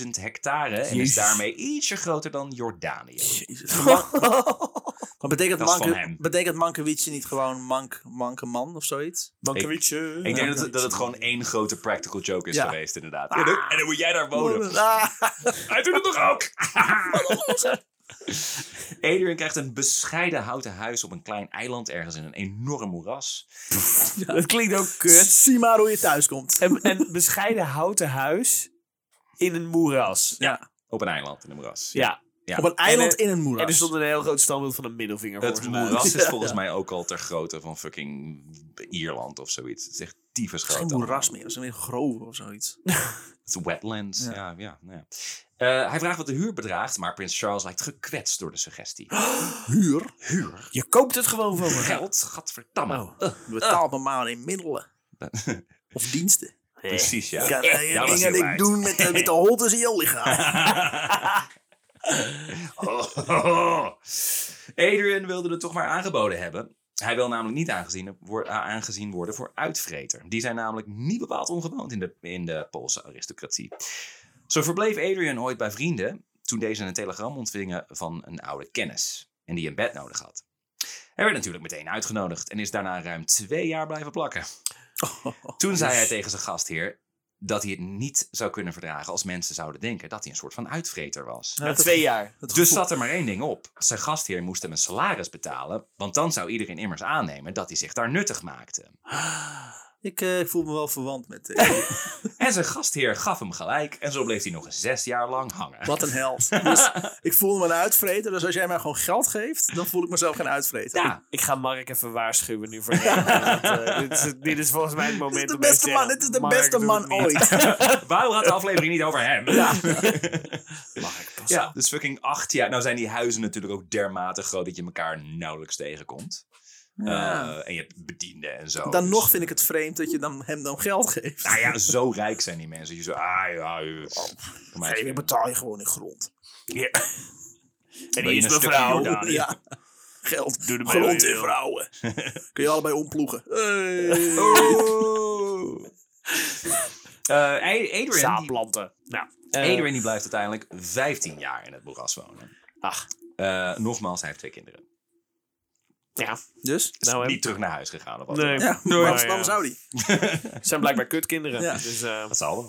200.000 hectare en is
Jezus.
daarmee ietsje groter dan Jordanië.
Jezus. Man- Maar betekent,
Dat is van
manke,
hem.
betekent mankewietje niet gewoon mank, manke man of zoiets?
Bankowietje.
Ik
eh,
denk dat, dat het gewoon één grote practical joke is
Ja.
geweest, inderdaad. En, dan, en dan moet jij daar
Oh,
wonen.
Ah,
Hij doet het toch ook? Adrian krijgt een bescheiden houten huis op een klein eiland ergens in een enorm moeras.
Dat klinkt ook
kut.
kut.
Zie maar hoe je thuis komt.
En, en bescheiden houten huis in een moeras.
Ja.
Op een eiland in een moeras.
Ja.
Ja.
Op een eiland
En,
in een moeras.
En er stond een heel groot standbeeld van een middelvinger
Het
volgens mij.
moeras is
Ja.
volgens mij ook al ter grootte van fucking Ierland of zoiets. Het is echt
Het
tyfus
is
groot.
geen moeras
allemaal.
meer, het is meer grove of zoiets.
Het is wetlands.
Ja.
Ja. Ja, nou ja. Eh, hij vraagt wat de huur bedraagt, maar prins Charles lijkt gekwetst door de suggestie.
Oh, Huur?
Huur?
Je koopt het gewoon van me.
Geld? Gadverdamme.
Oh.
Betaalt me maar in middelen. Oh. Of diensten.
Precies, ja.
Ik kan eh,
dat was
dingen
heel
die ik
wijs.
doen met, de- met de holtes in jouw lichaam.
Adrian wilde het toch maar aangeboden hebben. Hij wil namelijk niet aangezien, wor- aangezien worden voor uitvreter. Die zijn namelijk niet bepaald ongewoond in de, in de Poolse aristocratie. Zo verbleef Adrian ooit bij vrienden toen deze een telegram ontvingen van een oude kennis. En die een bed nodig had. Hij werd natuurlijk meteen uitgenodigd en is daarna ruim twee jaar blijven plakken. Toen
dus
zei hij tegen zijn gastheer dat hij het niet zou kunnen verdragen als mensen zouden denken dat hij een soort van uitvreter was.
Ja,
twee jaar.
Het
Dus
gevoel-
zat er maar één ding op. Zijn gastheer moest hem een salaris betalen, want dan zou iedereen immers aannemen dat hij zich daar nuttig maakte.
Ik eh, voel me wel verwant met... eh,
En zijn gastheer gaf hem gelijk en zo bleef hij nog eens zes jaar lang hangen.
wat een held. Dus ik voel me een uitvreter. Dus als jij mij gewoon geld geeft, dan voel ik mezelf geen uitvreter.
Ja,
Ik ga Mark even waarschuwen nu voor Nederland, want, eh, dit, is, dit is volgens mij het
Dit
moment
is de
om even
beste
te
man,
zeggen,
dit is de
Mark,
beste
doe
man
het niet.
ooit.
waarom gaat de aflevering niet over hem? Ja.
Mark, pas
ja,
op.
dus fucking acht jaar. Nou zijn die huizen natuurlijk ook dermate groot dat je elkaar nauwelijks tegenkomt.
Ja.
Eh, en je hebt bedienden en zo.
Dan
dus-
nog vind ik het vreemd dat je dan, hem dan geld geeft.
Nou ja, zo rijk zijn die mensen. Je zo, ah ja, eh, maar
Nee, dan betaal je gewoon in grond.
En
Wil
hier
je
is
een
mijn
stukje
vrouw.
Jordaan?
Ja. Geld.
Doe ermee wat
Grond
je
in
wil.
vrouwen. Kun je allebei omploegen. Hey.
Oh. Eh, Adrian, die,
Zaadplanten. Nou, eh,
Adrian die blijft uiteindelijk 15 jaar in het moeras wonen.
Ach,
Eh, nogmaals, hij heeft twee kinderen.
Ja,
Dus?
Dus
Nou, hè.
niet terug naar huis gegaan of wat.
nee.
Ja,
Maar,
waarom, waarom
ja,
zou die?
het zijn blijkbaar kutkinderen.
Ja.
Dus, eh,
Dat zal wel.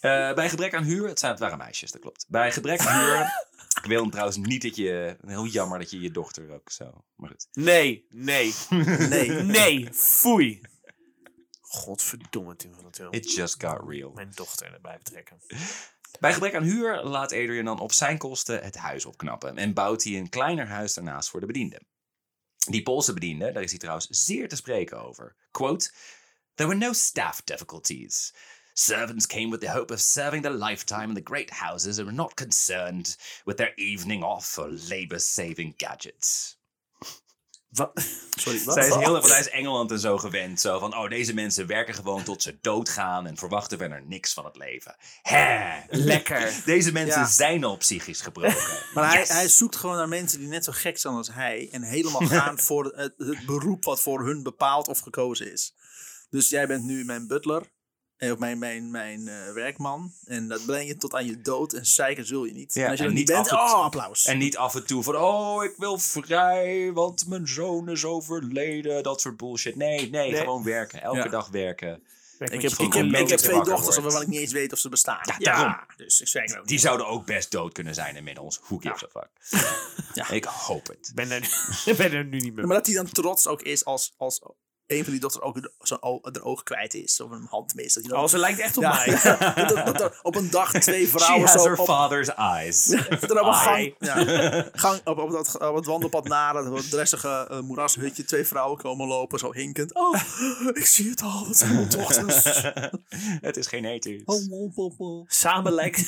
Eh, bij gebrek aan huur, het, zijn, het waren meisjes, dat klopt. Bij gebrek aan huur, ik wil hem trouwens niet dat je, heel jammer dat je je dochter ook zo, maar goed.
nee, nee,
Nee.
nee, foei. Godverdomme, Tim van het Hul.
It just got real.
Mijn dochter erbij betrekken.
Bij gebrek aan huur laat Adrian dan op zijn kosten het huis opknappen en bouwt hij een kleiner huis daarnaast voor de bedienden. Die Poolse bediende, daar is hij trouwens zeer te spreken over. Quote, There were no staff difficulties. Servants came with the hope of serving their lifetime in the great houses and were not concerned with their evening off for labor-saving gadgets.
Sorry, wat?
Zij is heel erg, want hij is Engeland en zo gewend. Zo van, oh, deze mensen werken gewoon tot ze doodgaan en verwachten verder niks van het leven. Hè?
Lekker.
Deze mensen
Ja.
zijn al psychisch gebroken.
Maar hij,
Yes.
hij zoekt gewoon naar mensen die net zo gek zijn als hij. En helemaal gaan voor het, het beroep wat voor hun bepaald of gekozen is. Dus jij bent nu mijn butler. eh, Of mijn, mijn, mijn eh, werkman. En dat breng je tot aan je dood. En zeiken zul je niet.
Ja,
en als je
en
dat niet
niet
bent,
af en-
oh, applaus.
En niet af en toe van, oh, ik wil vrij, want mijn zoon is overleden. Dat soort bullshit. Nee, nee,
Nee.
gewoon werken. Elke
Ja.
dag werken.
ik heb,
gewoon
ik heb,
een
ik
beetje
heb twee
wakker
dochters
wordt.
waarvan ik niet eens weet of ze bestaan.
Ja, daarom.
Dus ik zeik er ook
Die
niet.
zouden ook best dood kunnen zijn inmiddels. Who gives a fuck?
Ja.
Ik hoop het.
ben er, ben er nu niet meer.
Maar dat hij dan trots ook is als, als een van die dochters ook de- zijn o- haar oog kwijt is. Of een hand mist. Dat hij dan-
Oh, ze lijkt echt op
ja,
mij.
dat- dat- dat er op een dag twee
She
vrouwen
has
zo
her
op,
father's eyes.
Dat er op een
Ai.
gang, ja, gang op, op, dat, op het wandelpad naar dat dressige eh, moerashutje. Twee vrouwen komen lopen, zo hinkend. Oh, ik zie het al, het zijn mijn dochters.
het is geen ethisch.
Oh, oh, oh, oh.
Samen lijken,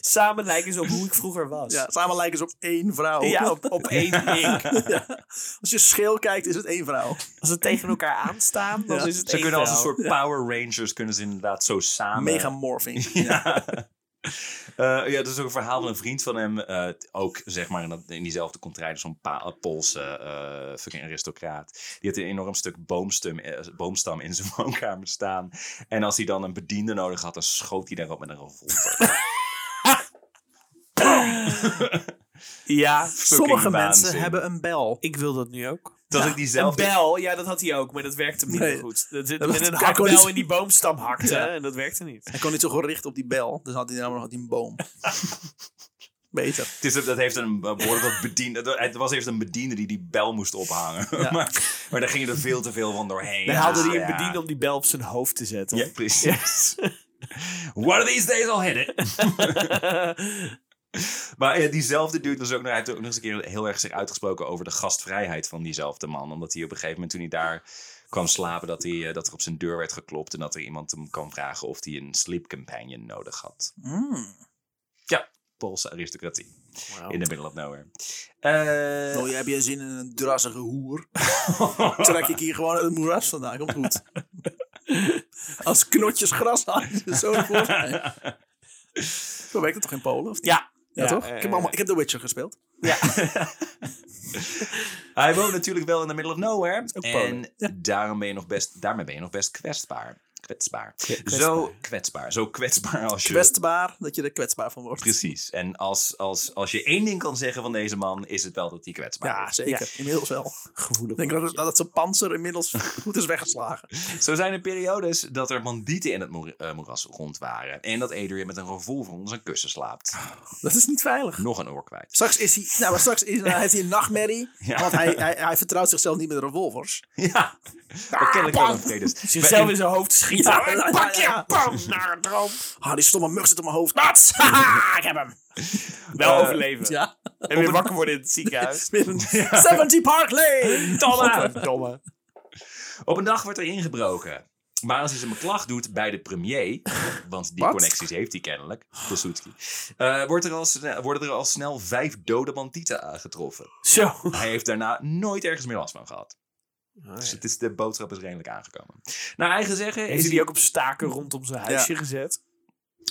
Samen lijken ze op hoe ik vroeger was.
Ja, samen lijken ze op één vrouw.
Ja, op, op één ik.
Ja. Als je scheel kijkt, is het één vrouw.
Als ze tegen elkaar aanstaan, dan
Ja.
is het
Ze
één
kunnen als een
vrouw.
soort Power Rangers kunnen ze inderdaad zo samen.
Megamorphing.
Ja. Eh, ja, dat is ook een verhaal van een vriend van hem. eh, t- ook zeg maar in, dat, in diezelfde contraire, zo'n pa- eh, Poolse eh, fucking aristocraat. Die had een enorm stuk boomstum, eh, boomstam in zijn woonkamer staan. En als hij dan een bediende nodig had, dan schoot hij daarop met een revolver.
Ja,
Sommige mensen
waanzin.
hebben een bel.
ik wil dat nu ook.
Dat ik
Een
diezelfde.
bel, ja, dat had hij ook, maar dat werkte minder
Nee.
goed. Dat, dat,
Dat
met
was-
een
kijk, gewoon
hakbel
niet-
in die boomstam hakte
Ja.
en dat werkte niet.
Hij kon niet zo gericht op die bel, dus had hij namelijk had hij een boom. Beter.
Het is, dat heeft een eh, behoorlijk wat bediende. Het was even een bediende die die bel moest ophangen.
Ja.
maar, maar daar ging er veel te veel van doorheen. Dus,
Dan haalde hij
Ja.
een bediende om die bel op zijn hoofd te zetten.
Ja, precies. One of these days I'll hit it. Maar ja, diezelfde dude was ook, nog- hij heeft ook nog eens een keer heel erg zich uitgesproken over de gastvrijheid van diezelfde man. Omdat hij op een gegeven moment toen hij daar kwam slapen, dat, hij, eh, dat er op zijn deur werd geklopt. En dat er iemand hem kwam vragen of hij een sleep companion nodig had.
Mm.
Poolse aristocratie.
Wauw.
In the middle of nowhere. Eh,
Nou, heb je zin in een drassige hoer? trek ik hier gewoon uit het moeras vandaan. Komt goed. Als knotjes gras aan. Zo voor mij. Zo werkt het toch in Polen? Of niet?
Ja.
Ja,
Ja,
toch?
eh,
ik, heb allemaal, ik heb The Witcher gespeeld.
Hij woont natuurlijk wel in the middle of nowhere.
ook Polen.
En daarom ben je nog best, daarmee ben je nog best kwetsbaar. Kwetsbaar.
kwetsbaar.
Zo kwetsbaar. Zo kwetsbaar als je...
Kwetsbaar, dat je er kwetsbaar van wordt.
Precies. En als, als, als je één ding kan zeggen van deze man, is het wel dat hij kwetsbaar is.
Ja, zeker. Inmiddels wel.
Gevoelig.
Ik denk dat, het- dat het zijn panzer inmiddels goed is weggeslagen.
Zo zijn er periodes dat er bandieten in het moer- eh, moeras rond waren. En dat Adrian met een revolver onder zijn kussen slaapt.
Dat is niet veilig.
Nog een oor kwijt.
Straks is hij, nou, maar straks is, hij heeft hij een nachtmerrie.
Ja.
Want hij, hij, hij vertrouwt zichzelf niet met revolvers.
Ja, dat kennelijk
Ah,
wel een vredes.
Zichzelf in zijn hoofd schieten.
Ja, Nou, ja, ja,
Pak je,
ja.
bam, naar een droom.
Ah, die stomme mug zit op mijn hoofd.
Wat? Haha, ik heb hem. Wel
Eh,
overleven.
Ja.
En weer wakker worden in het ziekenhuis.
Met een 70 Park Lane.
Domme. Domme.
Op een dag wordt er ingebroken. Maar als hij zijn beklag doet bij de premier, want die
Wat?
connecties heeft hij kennelijk, Pilsudski, eh, wordt er al sne- worden er al snel vijf dode bandieten aangetroffen.
Zo.
Hij heeft daarna nooit ergens meer last van gehad. Dus het is, de boodschap is redelijk aangekomen. Naar eigen zeggen
Heeft
is
hij die
hij...
ook op staken rondom zijn huisje gezet?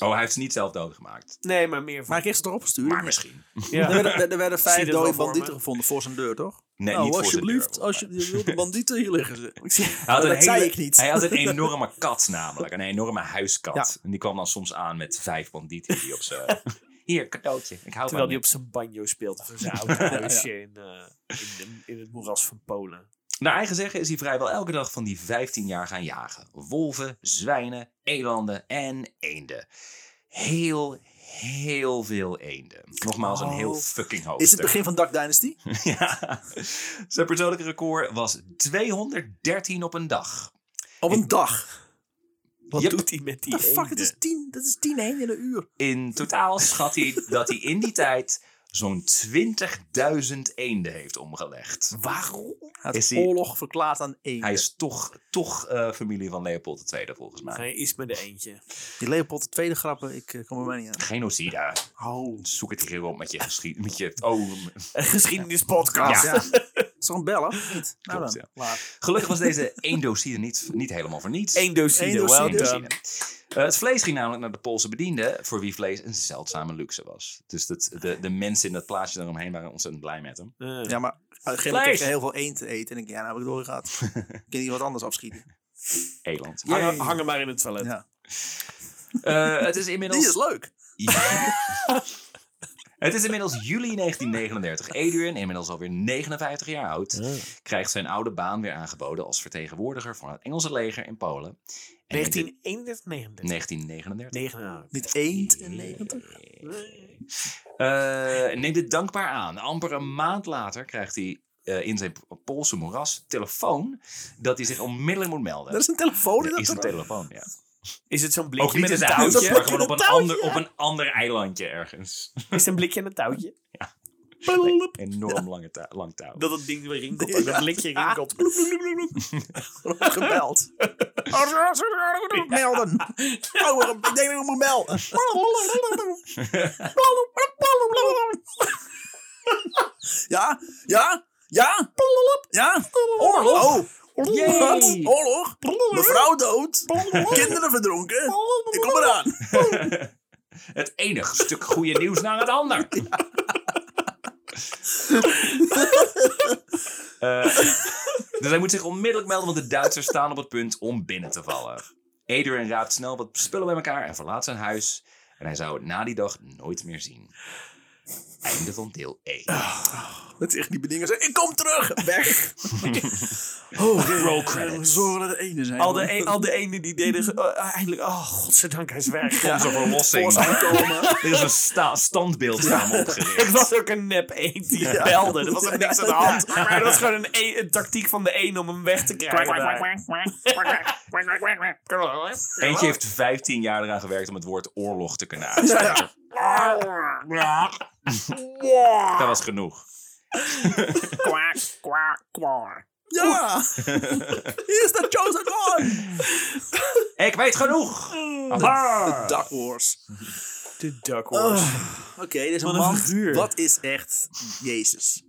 Oh, hij heeft ze niet zelf doodgemaakt.
Nee, maar meer van...
Maar ik kreeg ze erop gestuurd.
Maar misschien.
Ja.
Er werden, er werden
Zie
vijf
je dat
dode
wel voor
bandieten
me?
gevonden voor zijn deur, toch?
Nee,
nou,
niet voor zijn
alsjeblieft,
deur,
als je, je wilt de bandieten hier liggen. ze. Ik zie-
Hij had
dat
een
zei
hele-
ik niet.
Hij had een enorme kat namelijk. Een enorme huiskat. En die kwam dan soms aan met vijf bandieten die op zijn... Hier, cadeautje. Ik hou
Terwijl
van
die
je.
op zijn banjo speelt. Of in zijn oud huisje in, eh, in, de- in het moeras van Polen.
Naar eigen zeggen is hij vrijwel elke dag van die 15 jaar gaan jagen. Wolven, zwijnen, elanden en eenden. Heel, heel veel eenden. Nogmaals, een heel
Oh.
fucking
Is het
hoofdstuk.
begin van Duck Dynasty?
ja. Zijn persoonlijke record was 213 op een dag.
Op een dag.
Wat
Yep.
doet hij met die
The fuck, dat
eenden?
is tien, dat is tien heen in een uur.
In totaal schat hij dat hij in die tijd zo'n 20.000 eenden heeft omgelegd.
Waarom? Hij
Is
heeft
hij-
oorlog verklaard aan één.
Hij is toch, toch eh, familie van Leopold II volgens mij.
Hij is met de eentje.
Die Leopold de tweede grappen, ik eh, kom er maar niet aan.
Genocida.
Oh.
Zoek het hier op met je geschiedenis. Met je,
Nou
oh,
Een geschiedenispodcast.
Ja. Is er een bellen? Of niet? Nou
Klopt,
dan.
ja.
Laat.
Gelukkig was deze eendocide niet, niet helemaal voor niets.
Eén docide,
Eendocide.
well
Eendocide.
done.
Eh, het vlees ging namelijk naar de Poolse bedienden, voor wie vlees een zeldzame luxe was. Dus dat, de, de mensen in dat plaatsje daaromheen waren ontzettend blij met hem.
Eh.
Ja, maar op een gegeven moment kreeg je heel veel eend te eten. En ik denk, ja, nou heb ik het doorgehad. ik kan niet wat anders afschieten.
Eland.
Hang, hang hem maar in het toilet.
Ja.
Eh, het is
Die is
inmiddels...
leuk.
het is inmiddels juli 1939. Adrian, inmiddels alweer 59 jaar oud, krijgt zijn oude baan weer aangeboden als vertegenwoordiger van het Engelse leger in Polen. En in de-
1931, 39.
1939.
39.
Niet eend en negentig.
Eh, neem dit dankbaar aan. Amper een maand later krijgt hij eh, in zijn Poolse moeras telefoon dat hij zich onmiddellijk moet melden.
Er is een telefoon in
Er
dat
is een
ding.
telefoon, ja.
Is het zo'n
Ook
blikje
niet
met
in
een
zijn huis,
touwtje?
maar gewoon op
Met
een,
een
ander, op een ander eilandje ergens.
Is het een blikje en een touwtje?
Nee, enorm lange ta- lang touw.
Dat het ding weer rinkelt en dat blikje rinkelt.
Wordt gebeld. Melden. Oh, ik denk dat ik moet melden. Ja, ja, ja, ja. Oorlog.
Yay.
Wat? Oorlog. Mevrouw dood. Kinderen verdronken. Ik kom eraan.
Het enige stuk goede nieuws naar het ander. Eh, dus hij moet zich onmiddellijk melden, want de Duitsers staan op het punt om binnen te vallen. Adrian raapt snel wat spullen bij elkaar en verlaat zijn huis. En hij zou het na die dag nooit meer zien. Einde van deel 1.
Dat tegen die bedingen zeggen, ik kom terug. Weg. Oh,
Roll credits. e-
Zorgen dat er ene zijn.
Al de,
man.
een- al de e-, ene die deden ze- oh, eindelijk, oh godzijdank, hij is weg.
Onze
Voor
verlossing.
zijn komen.
Er is een sta- standbeeld samen
Het
opgericht.
was ook een nep eend die
Ja.
belde. Er was ook niks aan de hand.
Ja.
Maar dat was gewoon een, e- een tactiek van de een om hem weg te krijgen. daar.
Eentje heeft 15 jaar eraan gewerkt om het woord oorlog te kunnen uitspreken.
Ja.
Dat was genoeg.
Ja. Hier is de chosen one.
Ik weet genoeg!
Ah.
De Duck Wars.
De duck horse.
Oké, deze
Wat een
man.
figuur.
Wat is echt Jezus?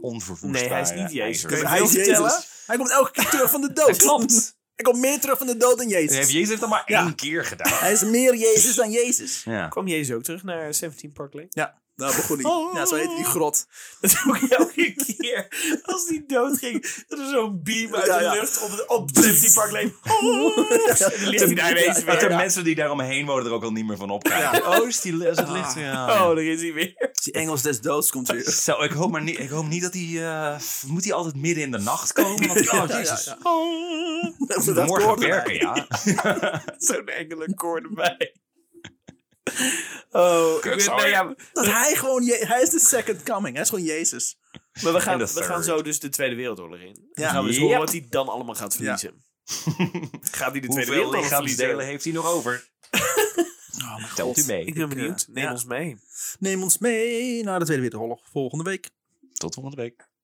Onvervoerbaar.
Nee, hij is niet Jezus.
ijzer.
Hij
Hij is
wil vertellen?
Jezus. Hij komt elke keer terug van de dood.
Dat klopt.
Hij komt meer terug van de dood dan Jezus.
Jezus heeft dat maar
Ja.
één keer gedaan.
Hij is meer Jezus dan Jezus.
Ja.
Kwam Jezus ook terug naar 17 Park Lane?
Ja, daar begon hij.
Oh.
Ja, zo heette die grot.
Dat is ook elke keer als die doodging, dat er zo'n beam uit
Ja,
de
ja.
lucht op, op 17 Park Lane. Oh. En dan ligt hij daar ineens
Dat de
weer.
mensen die daaromheen wonen er ook al niet meer van opkijken. Oh, is, die, is het licht?
Oh,
Ja.
daar is hij weer.
Die Engels des doods komt weer.
Zo, ik hoop maar niet, ik hoop niet dat hij... eh, moet hij altijd midden in de nacht komen? Want, oh, jezus.
ja,
Oh,
Dat
Morgen
hoort
werken,
erbij.
ja.
Zo'n enkele koor erbij. Oh, ik
Kut,
weet-
sorry.
nee, ja, maar
Dat hij gewoon, Je- hij is de second coming. Hij is gewoon Jezus.
maar we gaan,
En
we
de third.
gaan zo dus de Tweede Wereldoorlog in.
Ja. Oh,
Dan gaan we eens
Yep.
horen wat hij dan allemaal gaat verliezen. Gaat hij de Tweede
Hoeveel
Wereldoorlog verliezen?
lichaamsdelen heeft hij nog over?
dus-
Telt u mee.
Ik ben benieuwd.
Ja.
Neem ons mee.
Neem ons mee naar de Tweede Wereldoorlog volgende week.
Tot volgende week.